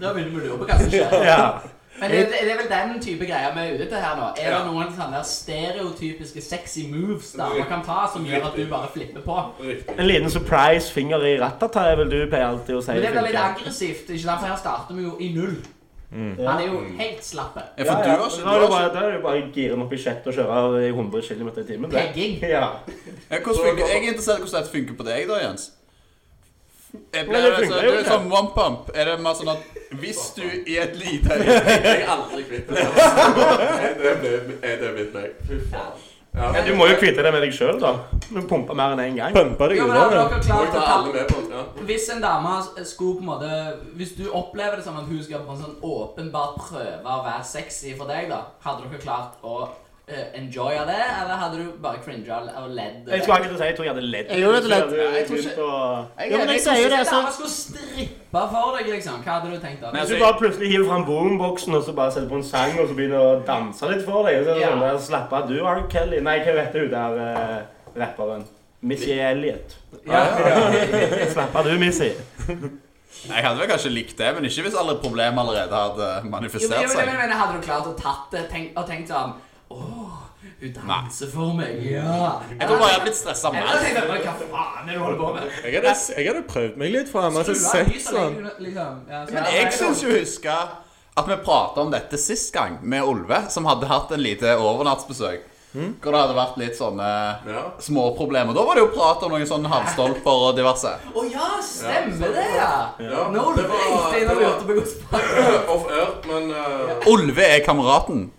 [SPEAKER 2] Da begynner vi å lure på hva som skjer.
[SPEAKER 5] Ja.
[SPEAKER 2] Men det, det er vel den type greier vi er ute etter her nå. Er det
[SPEAKER 8] Ja.
[SPEAKER 2] noen sånne der stereotypiske sexy moves damer kan ta, som gjør at du bare flipper på?
[SPEAKER 8] Riktig.
[SPEAKER 5] En liten surprise finger i rattata er vel du pleier alltid å si.
[SPEAKER 2] Men det blir litt
[SPEAKER 5] funker.
[SPEAKER 2] aggressivt, ikke sant? For her starter vi jo i null. Han er jo helt slappe.
[SPEAKER 3] Ja,
[SPEAKER 5] Ja,
[SPEAKER 3] for du
[SPEAKER 5] ja.
[SPEAKER 3] har ikke,
[SPEAKER 5] Da
[SPEAKER 3] du
[SPEAKER 5] er det
[SPEAKER 3] har
[SPEAKER 5] bare,
[SPEAKER 3] ikke
[SPEAKER 5] da er det bare å gire den opp i kjettet og kjøre i 100 km i timen. det.
[SPEAKER 2] Pegging.
[SPEAKER 5] Ja.
[SPEAKER 3] Ja, hvordan funker, Jeg er interessert i hvordan dette funker på deg, da, Jens.
[SPEAKER 5] Nei,
[SPEAKER 3] Jeg ble,
[SPEAKER 5] det
[SPEAKER 3] altså,
[SPEAKER 5] funker
[SPEAKER 3] du
[SPEAKER 5] jo
[SPEAKER 3] er
[SPEAKER 5] ikke.
[SPEAKER 3] sånn one pump. Er det mer sånn at hvis du i et lite
[SPEAKER 8] Jeg er aldri kvitt det. Det ble, er det mitt meg. Fy faen. Ja.
[SPEAKER 5] Men du må jo kvitte deg med deg sjøl, da. Du pumper mer enn én gang.
[SPEAKER 6] pumpa deg
[SPEAKER 2] Jo, men har
[SPEAKER 6] unna.
[SPEAKER 2] dere klart
[SPEAKER 8] Må jeg
[SPEAKER 2] å
[SPEAKER 8] ta
[SPEAKER 2] ta
[SPEAKER 8] alle med på den? Ja.
[SPEAKER 2] Hvis en dame skulle på en måte Hvis du opplever det som at hun skal på en sånn åpenbart prøve å være sexy for deg, da hadde dere klart å eh, enjoye det, eller hadde du bare cringa og ledd?
[SPEAKER 5] Jeg skulle akkurat si jeg tror jeg hadde ledd.
[SPEAKER 7] Jeg gjorde det lett.
[SPEAKER 5] Jeg hadde
[SPEAKER 3] Jeg tror ikke-
[SPEAKER 5] begynt å-
[SPEAKER 7] Jo, men jeg sier jo
[SPEAKER 2] Hvis
[SPEAKER 7] det
[SPEAKER 2] en
[SPEAKER 7] er sånn
[SPEAKER 2] dame skulle strippe for deg, liksom, hva hadde du tenkt da?
[SPEAKER 3] Nei,
[SPEAKER 5] Hvis
[SPEAKER 3] altså,
[SPEAKER 5] du bare plutselig hiver fram boomboksen og så bare setter på en sang og så begynner å danse litt for deg og så er det
[SPEAKER 2] Ja.
[SPEAKER 5] sånn der, Slapp av, du R. Kelly. Nei, hva heter hun der eh, rapperen? Missy Elliot. Slapp av, du, Missy.
[SPEAKER 3] Jeg hadde vel kanskje likt det, men ikke hvis alle problemer allerede hadde
[SPEAKER 2] Jo, men, jo,
[SPEAKER 3] manifestert
[SPEAKER 2] men, men,
[SPEAKER 3] seg.
[SPEAKER 2] men hadde du klart å tatt det tenk, og tenkt sånn Åh, hun danser for meg, ja.
[SPEAKER 3] Jeg tror bare jeg hadde blitt stressa
[SPEAKER 2] Eller
[SPEAKER 3] mer.
[SPEAKER 2] tenkte jeg bare, sånn, hva faen er det du holder på med?
[SPEAKER 6] Jeg hadde, jeg hadde prøvd meg litt fram. Altså,
[SPEAKER 2] Skru av
[SPEAKER 6] sett
[SPEAKER 2] lyset,
[SPEAKER 6] sånn.
[SPEAKER 2] liksom. Ja, så-
[SPEAKER 3] Men jeg syns jo å huske at vi prata om dette sist gang, med Olve, som hadde hatt en lite overnattsbesøk. Hvor det hadde vært litt sånne
[SPEAKER 8] Ja.
[SPEAKER 3] småproblemer. Da var det jo prat om noen sånne havstolper og diverse.
[SPEAKER 2] Å ja, stemmer det, ja!
[SPEAKER 8] Ja,
[SPEAKER 2] Nå
[SPEAKER 8] det
[SPEAKER 2] lurte jeg
[SPEAKER 8] var,
[SPEAKER 2] ikke
[SPEAKER 8] det
[SPEAKER 2] innom
[SPEAKER 8] var
[SPEAKER 2] Jotebergosparken.
[SPEAKER 8] off air, men eh,
[SPEAKER 3] Olve er kameraten.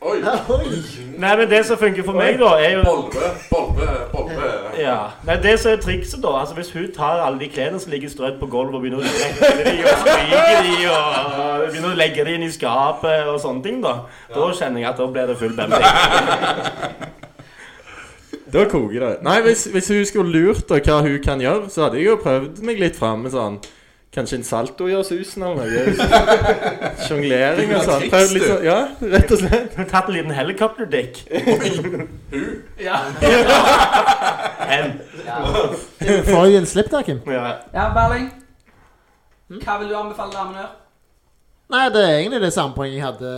[SPEAKER 8] Oi.
[SPEAKER 5] Nei, men det som funker for meg, da, er jo
[SPEAKER 8] Bolve, bolve, bolve.
[SPEAKER 5] ja. Nei, det som er trikset, da altså Hvis hun tar alle de klærne som ligger strødd på gulvet, og begynner å legge de og stryke de og og begynner å legge de inn i skapet og sånne ting, da Da kjenner jeg at da blir det full bending.
[SPEAKER 6] Da koker det. Nei, hvis, hvis hun skulle lurt og hva hun kan gjøre, så hadde jeg jo prøvd meg litt fram med sånn Kanskje en salto gjør susen eller noe. Sjonglering og sånn. Prøvd litt sånn. Ja, rett og slett.
[SPEAKER 5] Hun har tatt en liten helikopterdick.
[SPEAKER 2] Ja.
[SPEAKER 5] En.
[SPEAKER 7] Får jeg en slipp der, Kim?
[SPEAKER 5] Ja.
[SPEAKER 2] ja, Berling. Hva vil du anbefale damene å gjøre?
[SPEAKER 7] Nei, det er egentlig det samme poenget jeg hadde.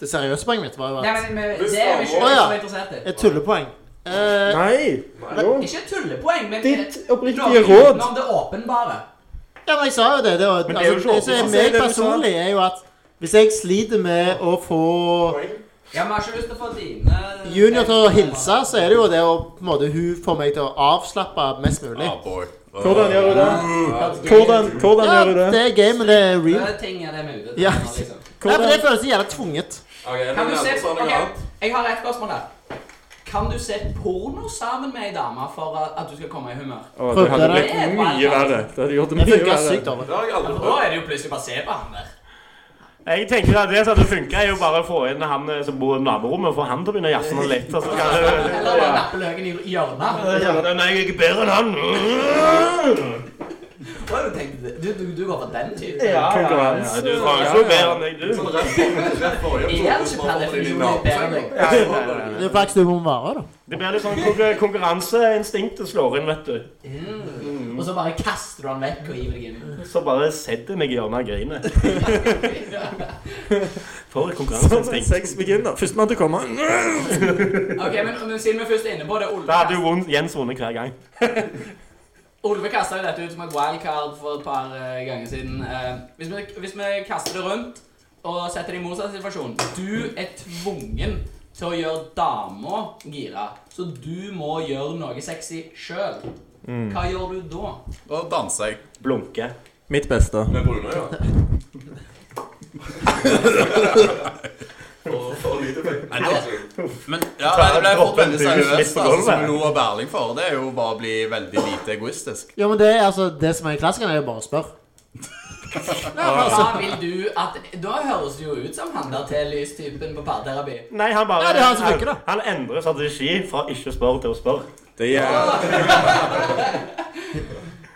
[SPEAKER 7] Det seriøse poenget mitt var jo
[SPEAKER 2] Nei,
[SPEAKER 7] at
[SPEAKER 2] men, men,
[SPEAKER 8] Hvis
[SPEAKER 2] det er vi ikke
[SPEAKER 7] damer-
[SPEAKER 2] så
[SPEAKER 7] Å, ja.
[SPEAKER 2] interessert i.
[SPEAKER 7] Et tullepoeng. Eh,
[SPEAKER 6] Nei. Jo.
[SPEAKER 2] Ikke et tullepoeng, men
[SPEAKER 6] Ditt
[SPEAKER 2] noe
[SPEAKER 6] oppriktige råd.
[SPEAKER 2] utenom det åpenbare.
[SPEAKER 7] Ja, men jeg sa jo det. Det, var,
[SPEAKER 5] Men det er jo
[SPEAKER 7] altså, det
[SPEAKER 5] ikke
[SPEAKER 7] som er
[SPEAKER 5] åpenbart.
[SPEAKER 6] Det er
[SPEAKER 7] meg
[SPEAKER 6] det du sa.
[SPEAKER 7] personlig, er jo at hvis jeg sliter med å få
[SPEAKER 2] Ja, Vi har ikke lyst til å få dine
[SPEAKER 7] junior til å hilse, så er det jo det å på en måte, hun får meg til å avslappe mest mulig.
[SPEAKER 3] Ah, boy.
[SPEAKER 6] Hvordan gjør hun det? Hvordan, hvordan
[SPEAKER 7] Ja,
[SPEAKER 6] gjør hun
[SPEAKER 7] det
[SPEAKER 6] det?
[SPEAKER 7] er gøy, men det er
[SPEAKER 2] Det
[SPEAKER 7] real.
[SPEAKER 2] er ting er det vi er ute etter.
[SPEAKER 7] Ja.
[SPEAKER 2] Liksom.
[SPEAKER 7] Nei, for Det føles så jævla tvunget.
[SPEAKER 2] Kan
[SPEAKER 8] Ok, men
[SPEAKER 2] du se
[SPEAKER 8] andre sa noe
[SPEAKER 2] Ok,
[SPEAKER 8] annet.
[SPEAKER 2] Jeg har et spørsmål her. Kan du se porno sammen med ei dame for at at du skal komme i humør?
[SPEAKER 6] Å, det
[SPEAKER 7] Prøvde
[SPEAKER 6] hadde
[SPEAKER 7] det.
[SPEAKER 6] blitt mye verre. Det hadde gjort det
[SPEAKER 7] Det
[SPEAKER 6] mye
[SPEAKER 7] funka sykt
[SPEAKER 6] verre.
[SPEAKER 7] dårlig.
[SPEAKER 8] Det har jeg aldri
[SPEAKER 2] For da
[SPEAKER 8] prøvd.
[SPEAKER 2] er det jo plutselig bare å se på han der.
[SPEAKER 5] Jeg tenker at det som hadde funka, er jo bare å få inn han eh, som bor i naborommet, og få han til å begynne å jazze noe litt. Og så skal
[SPEAKER 2] Eller bare nappe løken i hjørnet.
[SPEAKER 5] du Nei, jeg er ikke bedre enn han.
[SPEAKER 2] Da har du tenkt, Du, du, du går for den typen.
[SPEAKER 6] Konkurranse.
[SPEAKER 5] Ja, du var jo ikke bedre enn jeg, du.
[SPEAKER 8] Sånn rett for- rett for øyet,
[SPEAKER 2] Er han
[SPEAKER 8] så
[SPEAKER 2] ikke
[SPEAKER 8] bare
[SPEAKER 2] per
[SPEAKER 8] holder de
[SPEAKER 2] definisjon
[SPEAKER 8] inn i
[SPEAKER 2] bedre enn
[SPEAKER 8] nabosenga. Så holder de
[SPEAKER 7] Det er flaks du må være, da.
[SPEAKER 5] Det blir litt sånn konkur- konkurranseinstinktet slår inn, vet du.
[SPEAKER 2] Mm. Og så bare kaster du han vekk og hiver deg inn.
[SPEAKER 5] Så bare setter jeg meg i hjørnet og griner. For et
[SPEAKER 6] Sånn er
[SPEAKER 5] konkurranseinstinkt.
[SPEAKER 6] sex begynner. Førstemann til å komme.
[SPEAKER 2] Ok, men, men siden vi først er inne på det
[SPEAKER 5] Da
[SPEAKER 2] Olve,
[SPEAKER 5] hadde jo Won- Jens vunnet hver gang.
[SPEAKER 2] Olve kasta jo dette ut som et wildcard for et par eh, ganger siden. Eh, hvis, vi, hvis vi kaster det rundt og setter det i motsatt situasjon Du er tvungen til å gjøre dama gira, så du må gjøre noe sexy sjøl. Hva gjør du da?
[SPEAKER 3] Da danser jeg.
[SPEAKER 5] Blunke.
[SPEAKER 6] Mitt beste.
[SPEAKER 8] Med brune, ja. For- For lite penger.
[SPEAKER 3] Nei, da, men ja, nei, det ble fort veldig
[SPEAKER 5] Midt
[SPEAKER 3] seriøst.
[SPEAKER 5] på
[SPEAKER 3] Altså,
[SPEAKER 5] gulvet.
[SPEAKER 3] som Lo og Berling for, det er jo bare å bli veldig lite egoistisk.
[SPEAKER 7] Ja, men det, er altså, det som er klassikeren, er jo bare å spørre.
[SPEAKER 6] altså-
[SPEAKER 2] Hva vil du at Da høres det jo ut som han der T-lys-typen på parterapi.
[SPEAKER 5] Nei, han bare
[SPEAKER 7] Ja, det er han som funker, da.
[SPEAKER 5] han endrer strategi fra ikke å spørre til å spørre.
[SPEAKER 6] Det er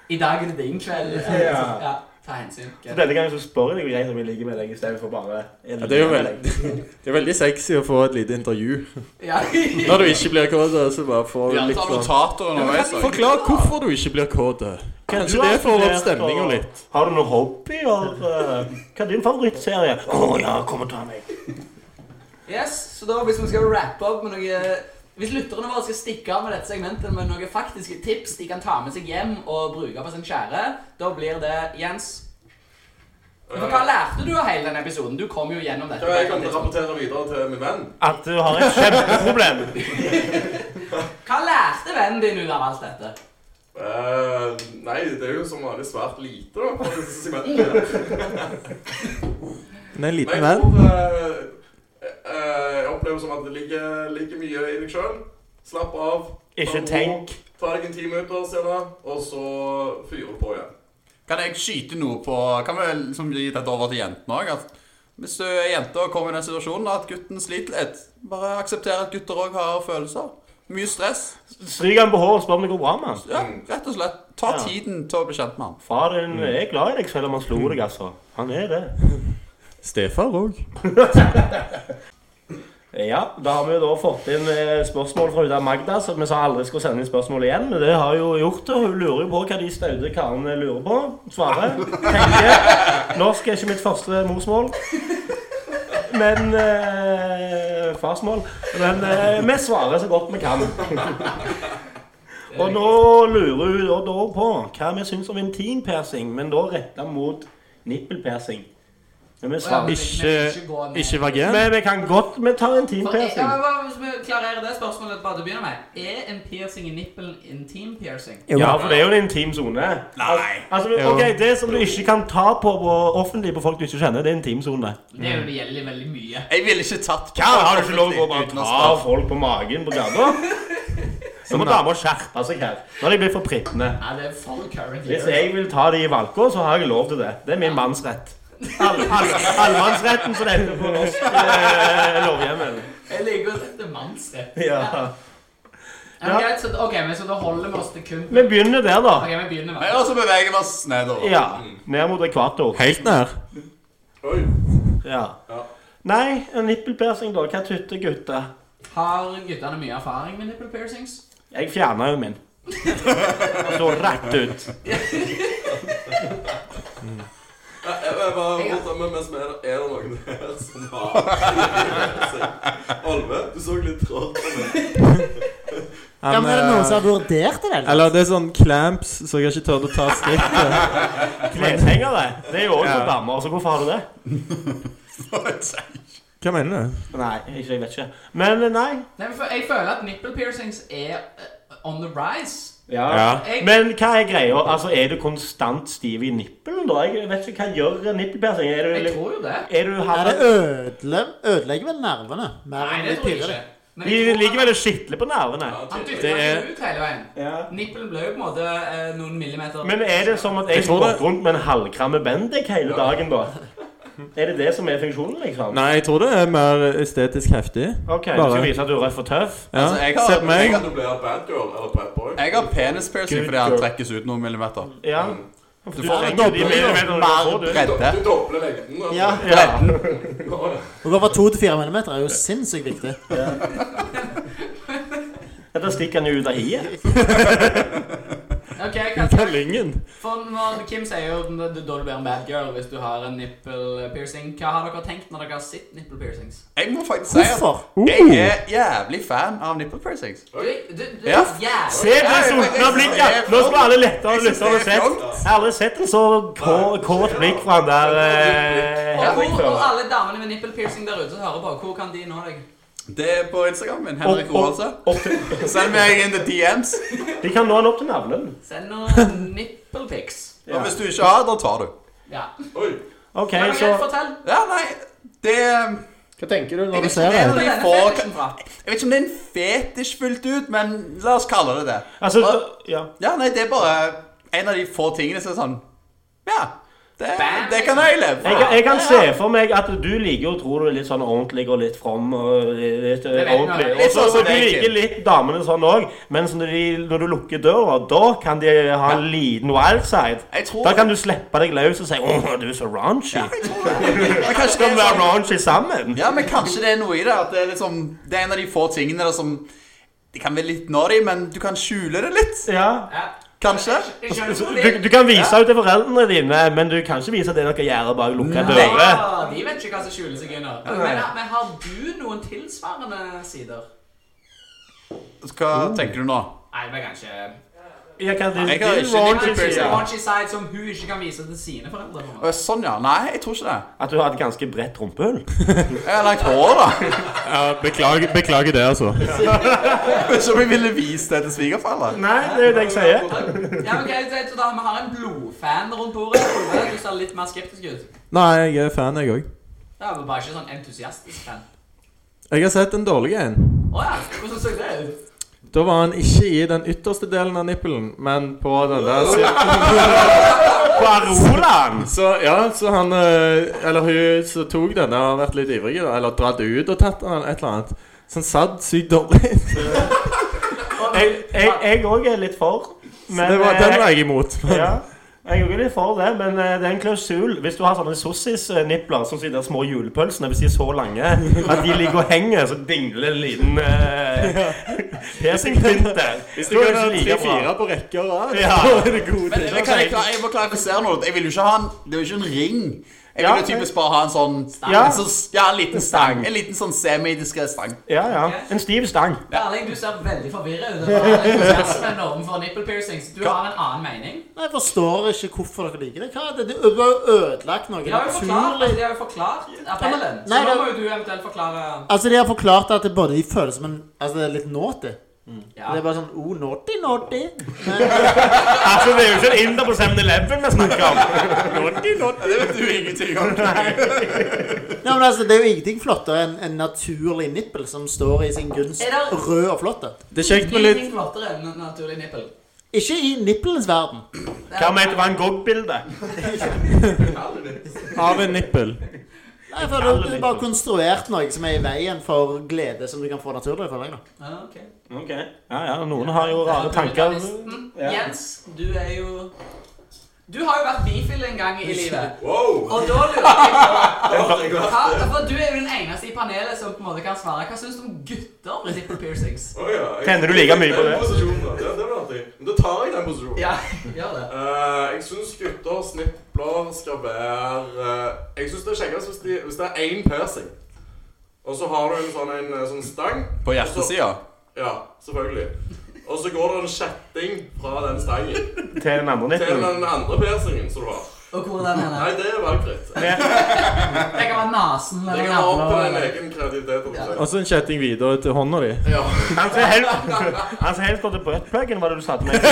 [SPEAKER 2] I dag er det din kveld.
[SPEAKER 5] Ja.
[SPEAKER 2] Ja, ta hensyn.
[SPEAKER 5] Så denne gangen så spør jeg deg greit om jeg ligger med deg, istedenfor bare jeg
[SPEAKER 6] Ja, det er jo
[SPEAKER 5] ligger med
[SPEAKER 6] veldig- Det er veldig sexy å få et lite intervju.
[SPEAKER 2] Ja.
[SPEAKER 6] Når du ikke blir kåt, så bare får du
[SPEAKER 3] Ja,
[SPEAKER 6] litt
[SPEAKER 3] ta
[SPEAKER 6] sånn
[SPEAKER 3] notater underveis. da.
[SPEAKER 6] Forklar hvorfor du ikke blir kåt. Kanskje
[SPEAKER 5] Du har
[SPEAKER 6] det får opp
[SPEAKER 5] studert,
[SPEAKER 6] stemninga
[SPEAKER 5] og-
[SPEAKER 6] litt.
[SPEAKER 5] Har du noe hobby? Eller, eh, hva er din favorittserie? Å ja, kom og ta meg.
[SPEAKER 2] Yes, så da hvis vi skal rappe opp med noe eh, Hvis lytterne våre skal stikke av med dette segmentet med noen faktiske tips de kan ta med seg hjem og bruke på sin kjære, da blir det Jens. For hva lærte du av hele denne episoden? Du kom jo gjennom dette.
[SPEAKER 8] Ja, Jeg kan rapportere videre til min venn.
[SPEAKER 5] At du har et kjempeproblem.
[SPEAKER 2] Hva lærte vennen din ut av alt dette?
[SPEAKER 8] Eh, nei, det er jo som vanlig svært lite, da. på disse segmentene.
[SPEAKER 6] Men en
[SPEAKER 8] Men
[SPEAKER 6] liten
[SPEAKER 8] jeg
[SPEAKER 6] venn.
[SPEAKER 8] tror eh, eh, Jeg opplever som at det ligger, ligger mye i deg sjøl. Slapp av.
[SPEAKER 5] Ikke tenk.
[SPEAKER 8] Ta deg en ti minutter senere, og så fyrer du på igjen.
[SPEAKER 3] Kan jeg skyte noe på Kan vi liksom gi dette over til jentene òg? Hvis du er jente og kommer i den situasjonen at gutten sliter litt, bare aksepter at gutter òg har følelser. Mye stress.
[SPEAKER 5] Stryk han på håret og spør om det går bra med han.
[SPEAKER 3] Ja, rett og slett. Ta
[SPEAKER 5] Mm. Ja.
[SPEAKER 3] tiden til å bli kjent med han.
[SPEAKER 5] Far din er glad i deg, selv om han slo deg, altså. Han er det.
[SPEAKER 6] Stefar òg.
[SPEAKER 5] Ja, da har vi jo da fått inn eh, spørsmål fra Uda Magda, som vi sa aldri skulle sende inn spørsmål igjen. Men det har jo gjort det. Hun lurer jo på hva de staude karene lurer på. Svarer. Tenker. Norsk er ikke mitt første morsmål. Men eh, Farsmål. Men eh, vi svarer så godt vi kan. Og nå lurer hun da, da på hva vi syns om intimpersing, men da retta mot nippelpersing. Men vi svarer
[SPEAKER 6] Ikke, ikke vagin.
[SPEAKER 5] Men vi kan godt vi tar intimpersing.
[SPEAKER 2] Ja, men hva- Hvis vi klarerer det spørsmålet bare til å begynne med Er en piercing i nippelen intim piercing?
[SPEAKER 5] Ja, for det er jo en intim sone.
[SPEAKER 3] Nei.
[SPEAKER 5] Altså, ok, Det som du ikke kan ta på, på offentlig på folk du ikke kjenner, det er intimsone.
[SPEAKER 2] Det er jo det gjelder veldig mye.
[SPEAKER 3] Jeg ville ikke tatt
[SPEAKER 5] Ja, har du ikke lov å gå bare
[SPEAKER 3] uten å
[SPEAKER 5] ta
[SPEAKER 3] spørre.
[SPEAKER 5] folk på magen på gata? Så må damer skjerpe seg her. Nå har de blitt for pritne.
[SPEAKER 2] Nei, det er for current
[SPEAKER 5] Hvis jeg vil ta de i valka, så har jeg lov til det. Det er min mannsrett. All, all, allmannsretten som det heter på norsk eh, lovhjemmel.
[SPEAKER 2] Jeg liker å sette mannsrett.
[SPEAKER 5] Ja.
[SPEAKER 2] Ja. men greit, så- Ok, men så da holder vi oss til kun
[SPEAKER 5] Vi begynner der, da.
[SPEAKER 2] Ok, vi begynner
[SPEAKER 3] Nei,
[SPEAKER 2] med
[SPEAKER 3] Og så beveger vi oss nedover.
[SPEAKER 5] Ja, Ned mot ekvator.
[SPEAKER 6] Helt nær.
[SPEAKER 8] Oi.
[SPEAKER 5] Ja.
[SPEAKER 8] Ja.
[SPEAKER 5] Nei, en nippelpersing, da. Hva tytter gutta?
[SPEAKER 2] Har guttene mye erfaring med nipple piercings?
[SPEAKER 5] Jeg fjerna jo min. Og så rett ut.
[SPEAKER 8] Nei, jeg- jeg bare borte, men mens vi er der, er det noen her som har Olve, du så litt rart på meg.
[SPEAKER 7] Ja, men Er det
[SPEAKER 6] eh,
[SPEAKER 7] noen som har vurdert det? eller?
[SPEAKER 6] Eller det er sånn clamps, så jeg har ikke tør å ta skrittet.
[SPEAKER 5] Kleshenger, det. Det er jo også
[SPEAKER 6] Ja.
[SPEAKER 5] for damer, så hvorfor har du det?
[SPEAKER 6] Hva mener du?
[SPEAKER 5] Nei, ikke, jeg vet ikke. Men eh, nei.
[SPEAKER 2] Nei, men for- Jeg føler at nipple piercings er eh, on the rise. Jeg,
[SPEAKER 5] Men hva er greia? Altså, Er du konstant stiv i nippelen, da? Jeg vet ikke, Hva gjør en nippelpersing? Er du,
[SPEAKER 2] jeg tror jo det.
[SPEAKER 5] er du
[SPEAKER 7] Ja, det
[SPEAKER 5] halv...
[SPEAKER 7] ødele, ødelegger vel nervene mer
[SPEAKER 2] Nei,
[SPEAKER 7] enn de
[SPEAKER 2] det tror jeg
[SPEAKER 7] pirrer det.
[SPEAKER 2] ikke. Men
[SPEAKER 5] De
[SPEAKER 2] jeg tror
[SPEAKER 5] ligger
[SPEAKER 2] han-
[SPEAKER 5] vel og skitler på nervene.
[SPEAKER 8] Ja,
[SPEAKER 2] Han
[SPEAKER 8] tydelig.
[SPEAKER 2] dytta
[SPEAKER 6] Det er-
[SPEAKER 2] ikke ut hele veien. Nippelen ble jo på en måte eh, noen millimeter
[SPEAKER 5] Men er det som at jeg
[SPEAKER 6] Jeg tror det-
[SPEAKER 5] går rundt med en halvkramme Bendik hele dagen, da? Er det det som er funksjonen, liksom?
[SPEAKER 6] Nei, jeg tror det er mer estetisk heftig.
[SPEAKER 5] OK, du
[SPEAKER 6] Bare-
[SPEAKER 5] skal vise at du er røff og tøff?
[SPEAKER 6] Ja.
[SPEAKER 3] Altså, jeg
[SPEAKER 6] Se
[SPEAKER 3] har-
[SPEAKER 6] på meg.
[SPEAKER 8] Kan du bli en bad girl eller bad boy?
[SPEAKER 3] Jeg har penispiercing
[SPEAKER 5] Good
[SPEAKER 3] fordi han
[SPEAKER 5] girl.
[SPEAKER 3] trekkes ut noen millimeter.
[SPEAKER 5] Ja.
[SPEAKER 3] Du
[SPEAKER 5] Du
[SPEAKER 3] får en
[SPEAKER 5] trenger de millimeterne du får, du.
[SPEAKER 8] Du,
[SPEAKER 3] bredde.
[SPEAKER 8] du dobler lengden. altså.
[SPEAKER 7] Ja.
[SPEAKER 5] Ja.
[SPEAKER 7] Å gå fra 2 til 4 mm er jo sinnssykt viktig.
[SPEAKER 5] Ja, Da stikker han jo ut av hiet.
[SPEAKER 2] Ok, hva
[SPEAKER 6] Tellingen.
[SPEAKER 2] For når Kim sier jo da du blir en bad girl hvis du har en nipple piercing, hva har dere tenkt når dere har sett nipple piercings?
[SPEAKER 3] Jeg må faktisk si at
[SPEAKER 7] Hvorfor?
[SPEAKER 3] jeg er jævlig fan av nipple piercings.
[SPEAKER 2] Du, du, du,
[SPEAKER 3] Ja.
[SPEAKER 2] jævlig.
[SPEAKER 5] Se det sultne blikket! Nå skulle alle lette og lytte og se. Jeg har aldri sett en så kå- kåt blikk fra han der eh,
[SPEAKER 2] Og,
[SPEAKER 5] Henrik
[SPEAKER 2] hvor, og
[SPEAKER 5] før.
[SPEAKER 2] alle damene med nipple piercing der ute som hører på, hvor kan de nå deg?
[SPEAKER 3] Det er på Instagram min. Henrik
[SPEAKER 5] Opp, opp,
[SPEAKER 3] Roaldse.
[SPEAKER 5] opp til-
[SPEAKER 3] Send meg inn the DMs.
[SPEAKER 5] De kan nå han opp til navlen.
[SPEAKER 2] Send noen nipple pics.
[SPEAKER 3] Og hvis du ikke har, da tar du.
[SPEAKER 2] Ja.
[SPEAKER 8] Oi.
[SPEAKER 5] OK,
[SPEAKER 2] Men
[SPEAKER 5] så
[SPEAKER 2] greit, fortell.
[SPEAKER 3] Ja, nei, det Jeg
[SPEAKER 7] Hva tenker du
[SPEAKER 2] Jeg
[SPEAKER 7] når du
[SPEAKER 2] vet ikke
[SPEAKER 7] ser
[SPEAKER 2] hvor
[SPEAKER 7] det?
[SPEAKER 2] denne
[SPEAKER 3] får-
[SPEAKER 2] fetisjen fra.
[SPEAKER 3] vet ikke om det er en fetisj fullt ut, men la oss kalle det det.
[SPEAKER 5] Altså,
[SPEAKER 3] Og-
[SPEAKER 5] ja.
[SPEAKER 3] ja, nei, det er bare en av de få tingene som er sånn Ja, det,
[SPEAKER 2] Bam.
[SPEAKER 3] det kan jeg
[SPEAKER 5] Jeg,
[SPEAKER 3] leve for.
[SPEAKER 5] jeg kan se for meg at du liker å tro du er litt sånn ordentlig og litt from. og litt eh,
[SPEAKER 2] Det vet
[SPEAKER 5] ordentlig.
[SPEAKER 2] jeg.
[SPEAKER 5] Og så
[SPEAKER 3] Litt sånn som
[SPEAKER 5] og du
[SPEAKER 3] deg,
[SPEAKER 5] liker
[SPEAKER 3] Kim.
[SPEAKER 5] litt damene sånn òg, men så når, de, når du lukker døra, da kan de ha en liten wildside.
[SPEAKER 3] Jeg tror-
[SPEAKER 5] Da kan du slippe deg løs og si 'Å, du er så raunchy'.
[SPEAKER 3] Ja, jeg tror det. Men kanskje det
[SPEAKER 5] Skal
[SPEAKER 3] er
[SPEAKER 5] vi være
[SPEAKER 3] sånn-
[SPEAKER 5] raunchy sammen?
[SPEAKER 3] Ja, men kanskje det er noe i det. At det er liksom Det er en av de få tingene der som Det kan være litt naughty, men du kan skjule det litt.
[SPEAKER 5] Ja.
[SPEAKER 2] Ja.
[SPEAKER 3] Kanskje.
[SPEAKER 2] Jeg skjønner hvor
[SPEAKER 5] Du, du kan vise det til foreldrene dine, men du kan ikke vise det dere gjør bak lukka
[SPEAKER 3] Nei.
[SPEAKER 5] dører.
[SPEAKER 2] Ah, de vet ikke hva som skjuler seg under. Men, men har du noen tilsvarende sider?
[SPEAKER 3] Hva
[SPEAKER 5] Mm.
[SPEAKER 3] tenker du nå?
[SPEAKER 2] Nei, det er kanskje
[SPEAKER 5] Ja, kan de,
[SPEAKER 3] Jeg
[SPEAKER 5] de
[SPEAKER 3] har ikke
[SPEAKER 5] raunchy
[SPEAKER 3] nipple
[SPEAKER 5] sier
[SPEAKER 3] piercing.
[SPEAKER 2] Raunchy side som hun ikke kan vise til sine foreldre. på en måte.
[SPEAKER 3] Å, Sånn, ja. Nei, jeg tror ikke det.
[SPEAKER 5] At du har et ganske bredt rumpehull.
[SPEAKER 3] Jeg har langt hår, da.
[SPEAKER 6] Ja, beklager, beklager det, altså.
[SPEAKER 3] Ikke om jeg ville vist det til svigerforeldre.
[SPEAKER 5] Nei, det er jo det jeg sier.
[SPEAKER 2] Ja, men ok, så- så da, Vi har en blodfan rundt bordet. Tove. Du ser litt mer skeptisk ut.
[SPEAKER 6] Nei, jeg er fan, jeg òg.
[SPEAKER 2] Ja, men Bare ikke sånn entusiastisk fan.
[SPEAKER 6] Jeg har sett en dårlig en.
[SPEAKER 2] Å ja, hvordan så det ut?
[SPEAKER 6] Da var han ikke i den ytterste delen av nippelen, men på den der siden.
[SPEAKER 5] På Arolan!
[SPEAKER 6] Så ja, så han eh, Eller hun som tok den, har vært litt ivrig, da, eller dratt ut og tatt den, eller et eller annet. Så han satt sykt dårlig.
[SPEAKER 5] Jeg- Jeg òg er litt for. Men,
[SPEAKER 6] Det var, den
[SPEAKER 5] eh,
[SPEAKER 6] var jeg imot.
[SPEAKER 5] ja, jeg er også litt for det, men eh, det er en klausul. Hvis du har sånne sossis-nipler, som de der små julepølsene, hvis de er så lange at de ligger og henger, så dingler en liten uh, piercingpynt der.
[SPEAKER 6] Hvis du
[SPEAKER 5] Da er
[SPEAKER 6] kan ha
[SPEAKER 5] det ikke like bra.
[SPEAKER 6] tre-fire på rekke og rad,
[SPEAKER 5] Ja.
[SPEAKER 6] så er det gode
[SPEAKER 3] Men
[SPEAKER 6] ting.
[SPEAKER 3] jeg, kan jeg, klare, jeg må klarifisere noe. Jeg vil jo ikke ha en Det er jo ikke en ring. Jeg
[SPEAKER 5] Ja,
[SPEAKER 3] vil jo typisk bare ha en sånn
[SPEAKER 5] Ja.
[SPEAKER 3] en, sånn, ja, en liten stang. En liten sånn semidiskré stang.
[SPEAKER 5] Ja, ja. En stiv stang.
[SPEAKER 2] Erling, du ser veldig forvirra ut. Du har entusiasme overfor nipple piercings. Du har en annen mening.
[SPEAKER 7] Nei, Jeg forstår ikke hvorfor dere liker det. Hva er det? Du du har jo ødelagt noe
[SPEAKER 2] De har jo forklart, altså,
[SPEAKER 7] naturlig.
[SPEAKER 2] de har jo forklart appellen. Så
[SPEAKER 7] Nei,
[SPEAKER 2] nå
[SPEAKER 7] det-
[SPEAKER 2] må jo du eventuelt forklare
[SPEAKER 7] Altså, De har forklart at det både de føles som en Altså, det er litt naughty.
[SPEAKER 2] Ja.
[SPEAKER 7] Det er bare sånn oh, naughty, naughty.
[SPEAKER 5] Altså, det er jo ikke en inder på 7-Eleven vi snakker om. Naughty, naughty.
[SPEAKER 3] Det vet du ingenting om.
[SPEAKER 7] Ja, men altså, Det er jo ingenting flottere enn en naturlig nippel som står i sin gunst
[SPEAKER 2] Er det-
[SPEAKER 7] rød og flott.
[SPEAKER 6] Det er kjekt med litt
[SPEAKER 2] Ingenting flottere enn en naturlig nippel.
[SPEAKER 7] Ikke i nippelens verden.
[SPEAKER 5] Hva med et Van Gogh-bilde?
[SPEAKER 6] av en nippel.
[SPEAKER 7] Nei, for Du du har bare konstruert noe som er i veien for glede som du kan få naturlig. føler jeg da.
[SPEAKER 2] Ja, ok.
[SPEAKER 5] Ok. Ja, ja, noen har jo rare tanker.
[SPEAKER 2] Brutalisten.
[SPEAKER 5] Ja.
[SPEAKER 2] Jens, du er jo Du har jo vært bifil en gang i livet.
[SPEAKER 8] Wow.
[SPEAKER 2] Og da lurer jeg på
[SPEAKER 8] Jeg har-
[SPEAKER 2] Hva, for du er jo den eneste i panelet som på en måte kan svare. Hva syns du om gutter med nipple piercings?
[SPEAKER 8] Å, ja. Jeg-
[SPEAKER 5] Tenner du like mye på
[SPEAKER 8] Den
[SPEAKER 5] det?
[SPEAKER 8] posisjonen, da. Det, det var artig. Men da tar jeg den posisjonen.
[SPEAKER 2] Ja, gjør det.
[SPEAKER 8] Eh, jeg syns gutter og snipler skal være eh, Jeg syns det er kjekkest hvis, de, hvis det er én piercing. Og så har du en sånn, en, eh, sånn stang.
[SPEAKER 3] På hjertesida.
[SPEAKER 8] Ja, selvfølgelig. Og så går det en kjetting fra den stangen
[SPEAKER 5] Til den andre
[SPEAKER 8] til
[SPEAKER 5] nippelen.
[SPEAKER 8] den andre piercingen som du har.
[SPEAKER 2] Og hvordan er
[SPEAKER 8] Nei,
[SPEAKER 2] det?
[SPEAKER 8] det er valgfritt. Det
[SPEAKER 2] Det kan være nesen eller
[SPEAKER 8] kan være opp til din
[SPEAKER 2] navlen.
[SPEAKER 8] egen kreativitet. om du vil.
[SPEAKER 6] Og så en kjetting videre til hånda di.
[SPEAKER 8] Ja.
[SPEAKER 5] Han ser helt Han ser helt godt ut på buttpluggen, var det du sa til meg.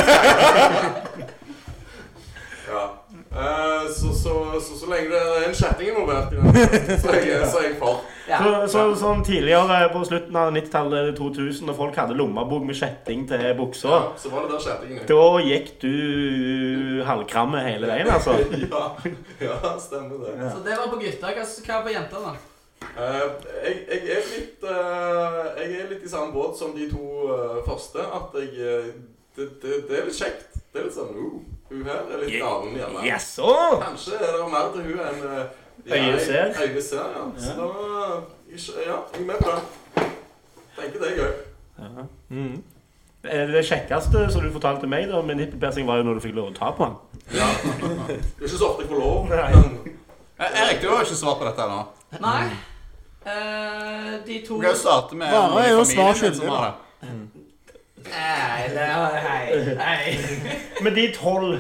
[SPEAKER 8] ja. Eh, så, så, så, så lenge det er en kjetting involvert, i den, så er jeg, så er jeg for.
[SPEAKER 2] Ja.
[SPEAKER 5] Så, så, sånn tidligere på slutten av 90-tallet, 2000, når folk hadde lommebok med kjetting til buksa,
[SPEAKER 8] Ja, så var det der kjettingen.
[SPEAKER 5] da gikk du halvkramme hele veien, altså.
[SPEAKER 8] Ja, ja, stemmer det.
[SPEAKER 2] Så det var på gutter. Hva hva er på jenter, da?
[SPEAKER 8] Eh, jeg, jeg, er litt, eh, jeg er litt i samme båt som de to eh, første. At jeg eh, det, det, det er litt kjekt. Det er litt sånn uh, Hun her er litt
[SPEAKER 5] Ye-
[SPEAKER 8] galen, gjerne.
[SPEAKER 5] Yes, åh!
[SPEAKER 8] Kanskje er det mer til hun enn eh, ja,
[SPEAKER 5] Øyet ser.
[SPEAKER 8] Øyet ser, ja. Så da eh, ikke- Ja, jeg er med på det. Tenker det er gøy.
[SPEAKER 5] Ja.
[SPEAKER 6] Mm.
[SPEAKER 5] Eh, Det kjekkeste som du fortalte meg da, med nippelpiercing, var jo når du fikk lov å ta på den.
[SPEAKER 8] Ja. Det er ikke så ofte jeg får lov.
[SPEAKER 5] Nei.
[SPEAKER 8] Men
[SPEAKER 3] Eh, Erik, du har jo ikke svart på dette ennå.
[SPEAKER 2] Nei. Eh, de to
[SPEAKER 3] Du kan jo starte med
[SPEAKER 7] Bare
[SPEAKER 3] noen i
[SPEAKER 7] er jo
[SPEAKER 3] familien
[SPEAKER 7] svar
[SPEAKER 3] din som
[SPEAKER 7] skyldig,
[SPEAKER 3] har det.
[SPEAKER 2] Nei, det er Hei. Hei.
[SPEAKER 5] Med de tolv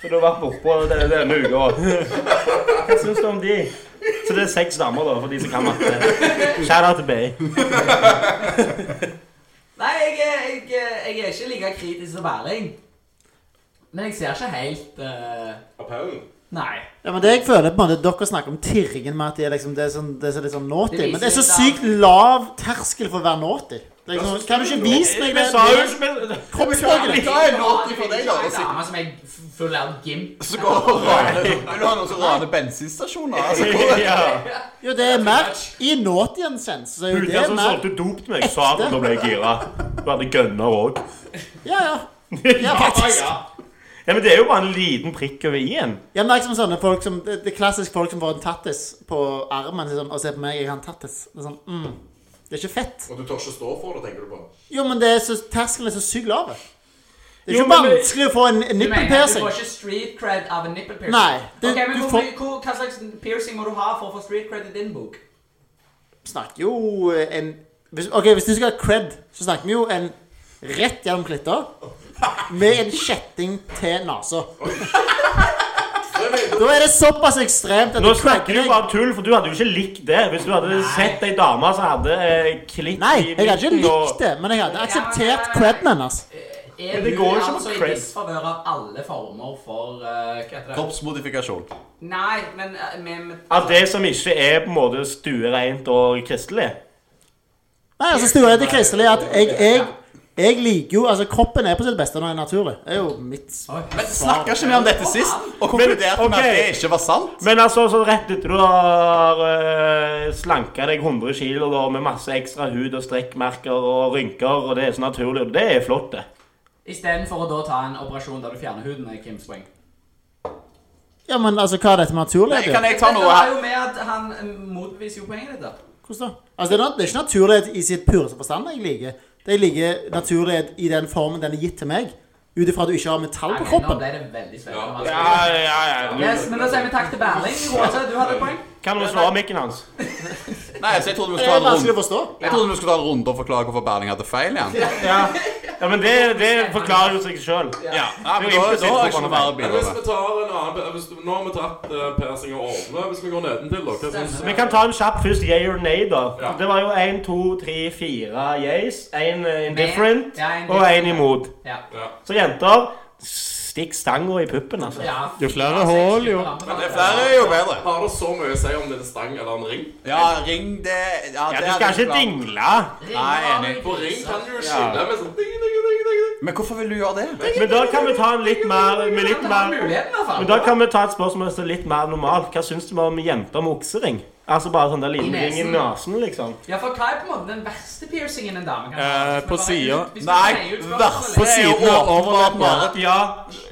[SPEAKER 5] som du har vært bortpå denne, denne uka, hva syns du om de? Så det er seks damer, da, for de som kan matte. Shout out til Bay.
[SPEAKER 2] Nei, jeg er, jeg, er- jeg er ikke like kritisk som Erling. Men jeg ser ikke helt eh,
[SPEAKER 8] appellen
[SPEAKER 2] Nei.
[SPEAKER 7] Ja, men det jeg føler på en måte Dere snakker om tirringen med at de er liksom, det er, sånn, det er så litt sånn naughty.
[SPEAKER 2] Det viser
[SPEAKER 7] men det er så
[SPEAKER 2] litt
[SPEAKER 7] sykt lav terskel for å være naughty. Det er Liksom, kan du ikke vise meg
[SPEAKER 5] Vi sa jo
[SPEAKER 7] det?
[SPEAKER 5] ikke men-
[SPEAKER 7] Kroppsspråket ditt.
[SPEAKER 3] Da er det naughty for deg, da,
[SPEAKER 2] Jeg
[SPEAKER 3] å
[SPEAKER 2] er en
[SPEAKER 3] si.
[SPEAKER 2] dame som er full av gimp.
[SPEAKER 3] Så går han og raner Vil du ha noen som raner bensinstasjoner? Altså, hvor er det?
[SPEAKER 5] Ja.
[SPEAKER 7] Jo, det er mer I naughtyen sense, så er jo
[SPEAKER 5] Hulka
[SPEAKER 7] det
[SPEAKER 5] som
[SPEAKER 7] mer
[SPEAKER 5] solgte dop til meg, sa at da ble jeg gira. Du hadde gønner òg.
[SPEAKER 7] Ja, ja.
[SPEAKER 5] ja,
[SPEAKER 7] faktisk.
[SPEAKER 5] Ja, men det er jo bare en liten prikk over i-en.
[SPEAKER 7] Ja, men det er liksom sånne folk som Det det er klassisk folk som får en tattis på armen sånn, og ser på meg, jeg har en tattis. Det er sånn mm. Det er ikke fett.
[SPEAKER 8] Og du tør ikke stå for det, tenker du på?
[SPEAKER 7] Jo, men det er så, terskelen er så sykt lav. Det er
[SPEAKER 5] Jo,
[SPEAKER 7] ikke
[SPEAKER 5] men-
[SPEAKER 7] vanskelig å få en en
[SPEAKER 2] Du
[SPEAKER 7] nipple
[SPEAKER 2] mener at du
[SPEAKER 7] piercing.
[SPEAKER 2] får ikke street cred av en nipple piercing?
[SPEAKER 7] Nei, det-
[SPEAKER 2] Ok, men
[SPEAKER 7] du
[SPEAKER 2] hvor,
[SPEAKER 7] får-
[SPEAKER 2] mye- hvor, hva slags piercing må du ha for å få street cred i din bok?
[SPEAKER 7] Snakker jo eh, en hvis, OK, hvis du skal ha cred, så snakker vi jo en rett gjennom klitta med en kjetting til nesa. Da er det såpass ekstremt at
[SPEAKER 5] Nå
[SPEAKER 7] du
[SPEAKER 5] snakker du
[SPEAKER 7] credder deg.
[SPEAKER 5] bare tull, for du hadde jo ikke likt det hvis du hadde sett ei dame som hadde eh, klitt
[SPEAKER 7] Nei,
[SPEAKER 5] i
[SPEAKER 7] jeg hadde ikke
[SPEAKER 5] midten og-
[SPEAKER 7] likt det, men jeg hadde akseptert creden hennes.
[SPEAKER 2] Er
[SPEAKER 5] Men det går jo ikke på
[SPEAKER 2] altså i
[SPEAKER 5] cred.
[SPEAKER 2] disfavør av alle former for eh, Hva heter det?
[SPEAKER 3] Kroppsmodifikasjon.
[SPEAKER 2] Nei, men eh, med, med,
[SPEAKER 5] Av det som ikke er på en måte stuereint og kristelig.
[SPEAKER 7] Nei, altså stua er til kristelig at jeg, jeg, jeg liker jo Altså, kroppen er på sitt beste når det er naturlig. Det er jo mitt
[SPEAKER 2] Oi.
[SPEAKER 3] Men snakka ikke vi om dette sist, og konkluderte med
[SPEAKER 5] ok.
[SPEAKER 3] at det ikke var sant?
[SPEAKER 5] Men altså, så rett etter du har eh, slanka deg 100 kilo da, med masse ekstra hud og strekkmerker og rynker, og det er så naturlig, og det er flott, det.
[SPEAKER 2] Istedenfor å da ta en operasjon der du fjerner huden, eh, er Kims poeng.
[SPEAKER 7] Ja, men altså, hva er dette med
[SPEAKER 3] Nei,
[SPEAKER 7] naturlighet?
[SPEAKER 3] Kan
[SPEAKER 7] i?
[SPEAKER 3] jeg ta noe
[SPEAKER 2] Det er
[SPEAKER 3] her?
[SPEAKER 2] jo med at han eh, motbeviser jo poenget ditt. da.
[SPEAKER 7] Hvordan da? Altså, det er, nat- det er ikke naturlighet i sitt pureste forstand jeg liker. Det jeg liker naturlighet i den formen den er gitt til meg, ut ifra at du ikke har metall
[SPEAKER 2] Ok,
[SPEAKER 7] på
[SPEAKER 2] Nå
[SPEAKER 7] kroppen.
[SPEAKER 2] ble det veldig spennende.
[SPEAKER 5] Ja,
[SPEAKER 2] vanskelig.
[SPEAKER 5] ja, ja.
[SPEAKER 2] Yes, men da sier vi takk til Berling. Rosa, du hadde et poeng.
[SPEAKER 5] Du, kan du slå av mikken hans?
[SPEAKER 3] Nei, så jeg trodde vi
[SPEAKER 7] Det
[SPEAKER 3] skulle
[SPEAKER 7] er
[SPEAKER 3] ta en
[SPEAKER 7] vanskelig
[SPEAKER 3] runde
[SPEAKER 7] å forstå.
[SPEAKER 3] Jeg trodde vi skulle ta en runde og forklare hvorfor Berling hadde feil igjen.
[SPEAKER 5] Ja, ja men det, det forklarer jo seg sjøl.
[SPEAKER 3] Ja, Nei, men
[SPEAKER 5] Det er
[SPEAKER 3] da,
[SPEAKER 5] jo
[SPEAKER 3] da har
[SPEAKER 5] implisitt
[SPEAKER 3] jeg ikke noe mer å
[SPEAKER 8] Men
[SPEAKER 3] bidra
[SPEAKER 8] hvis
[SPEAKER 3] med.
[SPEAKER 8] vi tar en annen hvis, Nå har vi tatt uh, piercing og åpne. Hvis vi går nedentil, da? Hva syns
[SPEAKER 5] Vi kan ta en kjapp først. Yay or nay, da.
[SPEAKER 8] Ja.
[SPEAKER 5] Det var jo én, to, tre, fire yays. Én indifferent
[SPEAKER 2] Ja, en
[SPEAKER 5] og én imot.
[SPEAKER 2] Ja.
[SPEAKER 8] ja.
[SPEAKER 5] Så jenter, stikk stanga i puppen, altså.
[SPEAKER 2] Ja.
[SPEAKER 6] Jo flere hål, jo.
[SPEAKER 2] Men
[SPEAKER 3] Det er flere jo bedre.
[SPEAKER 8] Har det så mye å si om det er en stang eller en ring?
[SPEAKER 3] Ja, ring det
[SPEAKER 5] Ja,
[SPEAKER 3] Ja, det
[SPEAKER 5] du
[SPEAKER 3] hadde
[SPEAKER 5] skal
[SPEAKER 3] jeg
[SPEAKER 5] ikke
[SPEAKER 3] klart.
[SPEAKER 5] dingle.
[SPEAKER 3] Nei, enig.
[SPEAKER 8] På ring kan du jo skille med sånn ding, ding, ding, ding, ding.
[SPEAKER 3] Men hvorfor vil du gjøre det?
[SPEAKER 5] Men da kan vi ta en litt mer, med litt mer men da
[SPEAKER 2] mer
[SPEAKER 5] kan vi ta et spørsmål som er litt mer normalt. Hva syns du om jenter med oksering? Altså bare sånn der
[SPEAKER 2] I
[SPEAKER 5] liten
[SPEAKER 2] nesen.
[SPEAKER 5] ring i nesen, liksom.
[SPEAKER 2] Ja, for hva er på en måte den verste piercingen en dame kan
[SPEAKER 6] Eh, på
[SPEAKER 2] Hvis vi bare-
[SPEAKER 6] siden.
[SPEAKER 2] hvis vi
[SPEAKER 3] Nei,
[SPEAKER 2] sier ut spørsmålet.
[SPEAKER 3] verste
[SPEAKER 6] På
[SPEAKER 3] er jo
[SPEAKER 6] siden av
[SPEAKER 3] åpenbart Marit.
[SPEAKER 5] Ja,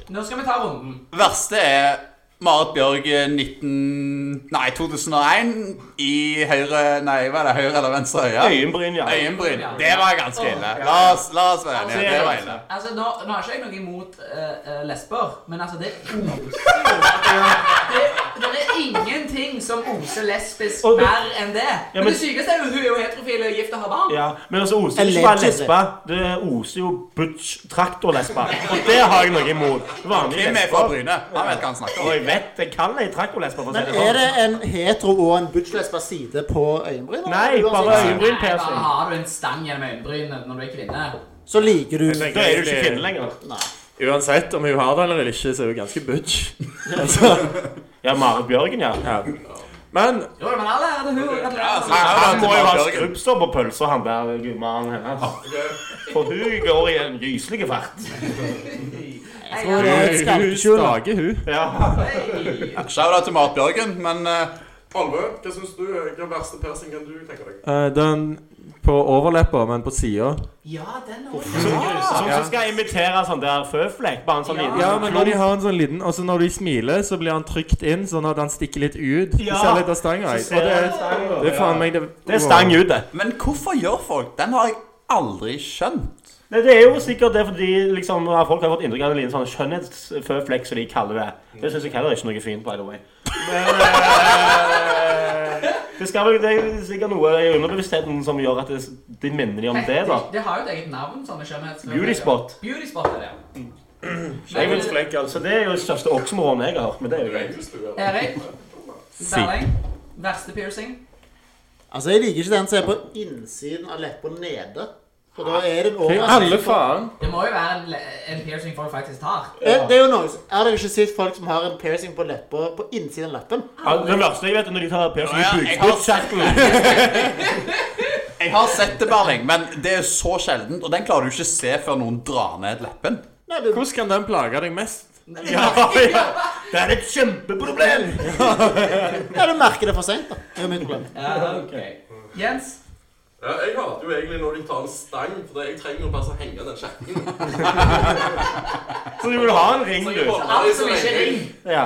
[SPEAKER 2] Nå skal vi ta runden.
[SPEAKER 3] Verste er Marit Bjørg eh, 19... Nei, 2001 i høyre Nei, hva er det? Høyre eller venstre øye?
[SPEAKER 5] øyenbryn, ja.
[SPEAKER 3] Øyenbryn. Det var ganske ille. La oss, la oss være enige. Det var ille.
[SPEAKER 2] Altså, nå, nå har ikke jeg noe imot eh, eh, lesber, men altså, det oser jo det, det er ingenting som oser lesbisk
[SPEAKER 5] Og-
[SPEAKER 2] mer enn det.
[SPEAKER 5] Ja,
[SPEAKER 2] men,
[SPEAKER 5] men-
[SPEAKER 2] det sykeste er jo hun er jo heterofil og gift og har barn.
[SPEAKER 5] Ja, men også oser det
[SPEAKER 7] Allegedly.
[SPEAKER 5] ikke bare lesbe. Det oser jo butch traktorlesbe. Og det har jeg noe imot. Vanlige
[SPEAKER 3] Kim er fra
[SPEAKER 5] lesber.
[SPEAKER 3] Bryne. Han vet hva han snakker
[SPEAKER 5] Og
[SPEAKER 3] om.
[SPEAKER 5] jeg vet, jeg kan ei traktorlesbe, for å si
[SPEAKER 7] Men er
[SPEAKER 5] det
[SPEAKER 7] det
[SPEAKER 5] sånn.
[SPEAKER 7] en hetero og en butchlesba side på øyenbrynet?
[SPEAKER 5] Nei,
[SPEAKER 7] Uansett,
[SPEAKER 5] bare
[SPEAKER 7] så-
[SPEAKER 5] øyenbryn
[SPEAKER 2] Nei, da
[SPEAKER 5] piercing.
[SPEAKER 2] har du en stang gjennom øyenbrynet når du er kvinne.
[SPEAKER 7] Så liker du
[SPEAKER 5] Da er du ikke kvinne lenger.
[SPEAKER 6] Uansett om hun har det eller ikke, så er hun ganske butch.
[SPEAKER 5] Ja, Marit Bjørgen, ja.
[SPEAKER 6] Men
[SPEAKER 2] Jo, men alle er det hun. alle er det.
[SPEAKER 5] Han, han må jo ha
[SPEAKER 3] Bjørgen.
[SPEAKER 5] skrubbsår på pølsa, han der gummaen hennes. For hun går i en gyselig fart.
[SPEAKER 2] Jeg
[SPEAKER 7] Tror
[SPEAKER 2] er
[SPEAKER 7] det er et
[SPEAKER 6] hun
[SPEAKER 7] skarpekjul. da.
[SPEAKER 6] stager hun.
[SPEAKER 5] Ja.
[SPEAKER 2] Hei.
[SPEAKER 3] Shout out til Marit Bjørgen, men eh,
[SPEAKER 8] Alve, hva syns du? Hva verste piercing kan du tenke deg?
[SPEAKER 6] Eh, den på overleppa, men på sida.
[SPEAKER 2] Ja, den er
[SPEAKER 5] Sånn som skal imitere sånn der føflekk. Bare en sånn liten
[SPEAKER 6] Ja, men når de
[SPEAKER 5] klump.
[SPEAKER 6] har en sånn liten Og så når de smiler, så blir han trykt inn, sånn at han stikker litt ut.
[SPEAKER 5] Ja.
[SPEAKER 6] Ja. Ser litt av stanga.
[SPEAKER 5] Så
[SPEAKER 6] Og
[SPEAKER 5] ser
[SPEAKER 6] det er,
[SPEAKER 5] jeg stang, da.
[SPEAKER 6] det er faen meg det
[SPEAKER 5] Det er stang ut, det.
[SPEAKER 3] Men hvorfor gjør folk Den har jeg aldri skjønt.
[SPEAKER 5] Nei, det er jo sikkert det fordi liksom, ja, folk har fått inntrykk av en liten sånn skjønnhetsføflekk, som de kaller det. Det syns jeg heller ikke er noe fint, by the way. Men eh, det, skal vel, det er sikkert noe i underbevisstheten som gjør at det, de minner de om det, da.
[SPEAKER 2] Det har jo et eget navn, sånne skjønnhetsflekker.
[SPEAKER 5] Beauty spot.
[SPEAKER 2] Beauty spot er det. Men,
[SPEAKER 5] Skjønnhetsflekk, altså. Det er jo det største oksmoroen jeg har hørt, men det er jo greit.
[SPEAKER 2] Erik, Berling, verste piercing?
[SPEAKER 7] Altså, jeg liker ikke den som er på innsiden av leppa nede. For da er det en
[SPEAKER 6] Fy,
[SPEAKER 7] overraskelse.
[SPEAKER 6] Alle faen.
[SPEAKER 2] Det må jo være en, le- en piercing folk faktisk tar.
[SPEAKER 7] Eh, Det er jo noe Jeg har ikke sett folk som har en piercing på leppa på innsiden av leppen.
[SPEAKER 5] Ja, det verste jeg vet, er når de tar piercing i
[SPEAKER 3] Ja, jeg har sett det. Jeg har sett det, Berling, men det er så sjeldent. Og den klarer du ikke å se før noen drar ned leppen.
[SPEAKER 7] Nei, det,
[SPEAKER 6] Hvordan kan den plage deg mest?
[SPEAKER 5] buken. Ja, Det er et kjempeproblem!
[SPEAKER 7] ja, du merker det for seint, da. Det er jo mitt problem.
[SPEAKER 2] Ja, ok. Jens?
[SPEAKER 8] Ja, jeg hater jo egentlig når de tar en stang, for jeg trenger jo bare så henge den kjekken.
[SPEAKER 5] Så du vil ha en ring,
[SPEAKER 8] Så jeg
[SPEAKER 5] du?
[SPEAKER 8] holder
[SPEAKER 2] Alt
[SPEAKER 8] i
[SPEAKER 2] som
[SPEAKER 8] så
[SPEAKER 2] ikke er ring.
[SPEAKER 8] lenge.
[SPEAKER 5] Ja.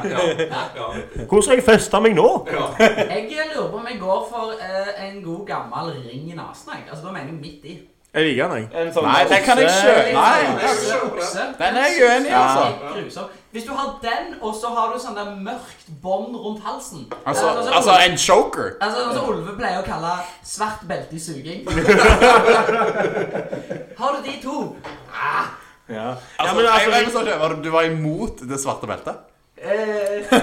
[SPEAKER 8] Ja.
[SPEAKER 5] Hvor skal jeg feste meg nå?
[SPEAKER 8] Ja.
[SPEAKER 2] Jeg lurer på om jeg går for eh, en god gammel ring i nesen. jeg. Altså, da mener jeg midt i.
[SPEAKER 6] Jeg liker den, jeg.
[SPEAKER 5] En sånn
[SPEAKER 3] Nei, den kan jeg kjøpe. Nei.
[SPEAKER 2] Okse, okse.
[SPEAKER 3] Den er jeg uenig i, altså.
[SPEAKER 2] Ja. Grusom. Hvis du har den, og så har du sånn der mørkt bånd rundt halsen
[SPEAKER 3] Altså,
[SPEAKER 2] Det er sånn som
[SPEAKER 3] altså
[SPEAKER 2] Ulve-
[SPEAKER 3] en choker.
[SPEAKER 2] Altså, altså Ulve pleier å kalle svart belte i suging. har du de to?
[SPEAKER 5] Ja.
[SPEAKER 3] Altså,
[SPEAKER 5] ja, men
[SPEAKER 3] jeg, jeg,
[SPEAKER 5] altså,
[SPEAKER 3] forstår ikke, var du- du var imot det svarte beltet?
[SPEAKER 2] Eh,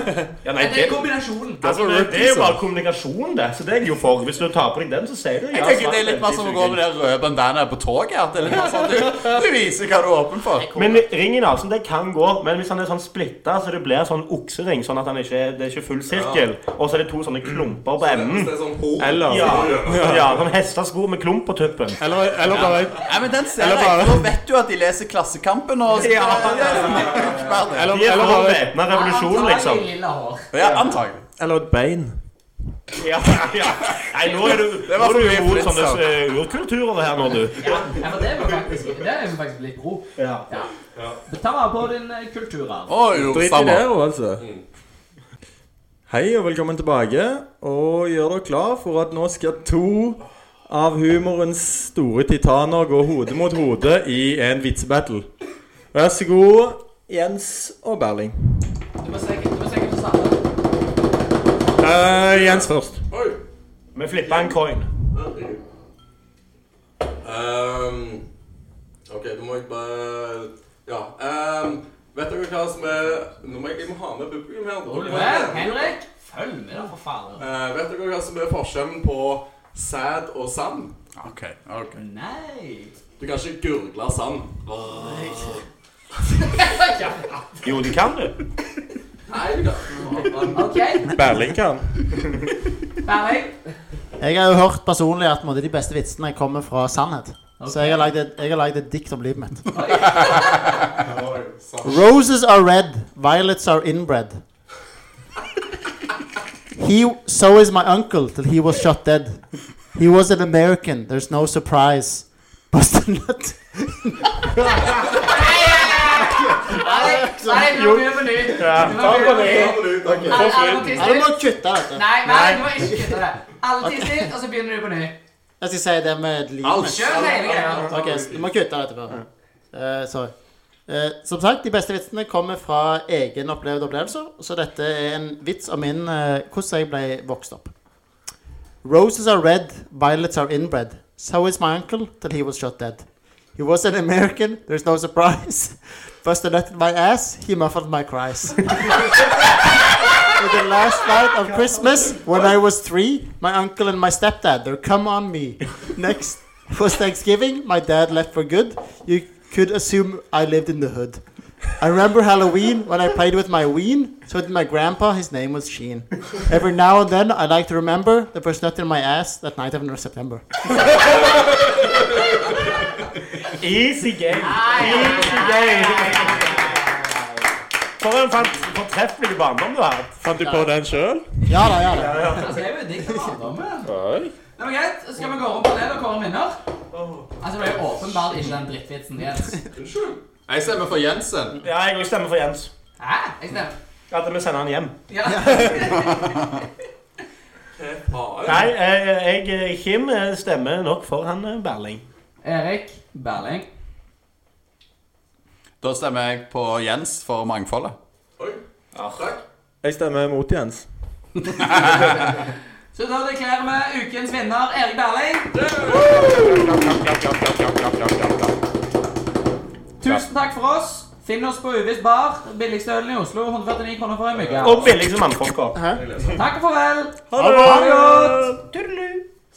[SPEAKER 5] ja, nei,
[SPEAKER 2] det er
[SPEAKER 5] det,
[SPEAKER 2] kombinasjonen.
[SPEAKER 5] Altså, det, det er jo bare kommunikasjon, det. Så det er jeg jo for. Hvis du tar på deg den, så sier du
[SPEAKER 3] Jeg tenker Det er litt mer som å gå med det røde bandanaet på toget. At det er litt mer sånn, du, du viser hva du er åpen for.
[SPEAKER 5] Men ring i nesen, det kan gå. Men hvis han er sånn splitta, så det blir sånn oksering, sånn at han ikke, det er ikke full sirkel, og så er det to sånne klumper på
[SPEAKER 8] Hvis
[SPEAKER 5] enden
[SPEAKER 8] det er sånn hår
[SPEAKER 6] Eller,
[SPEAKER 5] Ja, ja sånn hestesko med klump på tuppen.
[SPEAKER 6] eller, eller bare
[SPEAKER 3] Nei, men den ser
[SPEAKER 6] Eller
[SPEAKER 3] jeg.
[SPEAKER 6] bare-
[SPEAKER 3] Nå vet du at de leser Klassekampen og
[SPEAKER 5] Ja.
[SPEAKER 3] ja.
[SPEAKER 6] Eller,
[SPEAKER 5] De er
[SPEAKER 6] eller
[SPEAKER 5] for
[SPEAKER 6] bare
[SPEAKER 5] væpna revolusjon, liksom.
[SPEAKER 2] Antagelig lilla hår.
[SPEAKER 3] ja, antagelig.
[SPEAKER 6] Eller et bein.
[SPEAKER 5] Ja, ja. Nei, nå er du,
[SPEAKER 3] Det
[SPEAKER 5] nå
[SPEAKER 3] var
[SPEAKER 5] er du
[SPEAKER 3] for mye
[SPEAKER 5] imot
[SPEAKER 3] Fritz,
[SPEAKER 5] sånne
[SPEAKER 3] da.
[SPEAKER 5] eh, urkulturer her nå, du.
[SPEAKER 2] Ja, ja, for det er vi faktisk, det er vi faktisk litt pro.
[SPEAKER 5] Ja.
[SPEAKER 2] Ja. Ta vare på din eh, kulturarv.
[SPEAKER 3] Oi, jo,
[SPEAKER 6] Drit i
[SPEAKER 3] samme.
[SPEAKER 6] det, jo, altså. Hei og velkommen tilbake. Og gjør dere klar for at nå skal to av humorens store titaner gå hode mot hode i en vitsebattle. Vær så god, Jens og Berling.
[SPEAKER 2] Du må se- du må se hvem som starter.
[SPEAKER 6] Eh, Jens først.
[SPEAKER 8] Oi!
[SPEAKER 5] Vi flipper en coin.
[SPEAKER 8] Herregud. Ehm, OK, da må jeg bare Ja. ehm, vet dere hva som er Nå må jeg, jeg må ha med publikum her.
[SPEAKER 2] Ole, Henrik, følg med da, for faen.
[SPEAKER 8] Eh, vet dere hva som er forskjellen på sæd og sand?
[SPEAKER 3] Ok, ok.
[SPEAKER 2] Nei.
[SPEAKER 8] Du kan ikke gurgle sand.
[SPEAKER 5] Jo, du kan, du.
[SPEAKER 8] Nei, du kan
[SPEAKER 2] Ok,
[SPEAKER 6] Berling kan.
[SPEAKER 2] Berling.
[SPEAKER 7] Jeg har jo hørt personlig at på en måte, de beste vitsene kommer fra sannhet. Så jeg har lagd et, jeg har lagd et dikt om livet mitt.
[SPEAKER 8] Oi, sand.
[SPEAKER 7] Roses are red, violets are inbred. He, so is my uncle till he was shot dead. He was an American, there's no surprise. Buster Nut.
[SPEAKER 2] Nei, nei, nå begynner vi på nytt. Nå begynner vi på nytt. Alle- alle må tisse
[SPEAKER 7] Ja, du må
[SPEAKER 2] litt.
[SPEAKER 7] kutte dette.
[SPEAKER 2] Nei, nei, du må ikke kutte det. Alle tisser litt, og så begynner du på nytt.
[SPEAKER 7] Jeg skal si det med et lim.
[SPEAKER 2] Kjør hele greia.
[SPEAKER 7] Ok, så du må kutte dette før. Eh, sorry. Eh, som sagt, de beste vitsene kommer fra egen opplevd opplevelse, så dette er en vits om min eh, hvordan jeg ble vokst opp. Roses are red, violets are inbred. So is my uncle till he was shot dead. He was an American, there's no surprise. Buster nutted my ass, he muffled my cries. For the last night of Christmas, when I was three, my uncle and my stepdad, they come on me. Next was Thanksgiving, my dad left for good. You could assume I lived in the hood. I remember Halloween when I played with my ween. So did my grandpa. His name was Sheen. Every now and then, I like to remember the first nut in my ass that night of North September.
[SPEAKER 5] Easy game. Easy game. For en fant- fortreffelig barndom du har hatt.
[SPEAKER 6] Fant du på den sjøl?
[SPEAKER 7] Ja da, ja da.
[SPEAKER 2] Altså, jeg er jo digg for barndommen. Det var greit. så Skal vi gå rundt på det og kåre minner? Altså, det ble jo åpenbart ikke den drittvitsen Jens.
[SPEAKER 8] Unnskyld.
[SPEAKER 3] Jeg stemmer for Jensen.
[SPEAKER 5] Ja, jeg òg stemmer for Jens.
[SPEAKER 2] Hæ? Jeg stemmer.
[SPEAKER 5] At vi sender han hjem.
[SPEAKER 2] Ja.
[SPEAKER 8] Faen.
[SPEAKER 5] Nei, eh, jeg, Kim eh, stemmer nok for han eh, Berling.
[SPEAKER 2] Erik Berling.
[SPEAKER 3] Da stemmer jeg på Jens for mangfoldet.
[SPEAKER 8] Oi. Takk.
[SPEAKER 6] Jeg stemmer mot Jens.
[SPEAKER 2] Så da deklerer vi ukens vinner Erik Berling. Tusen takk for oss. Finn oss på Uvis bar. Billigste ølen i Oslo. 149 kroner for en mygge.
[SPEAKER 5] Og billig som mannfolka.
[SPEAKER 2] Takk og farvel.
[SPEAKER 6] Ha det!
[SPEAKER 2] Ha det godt. Tudelu.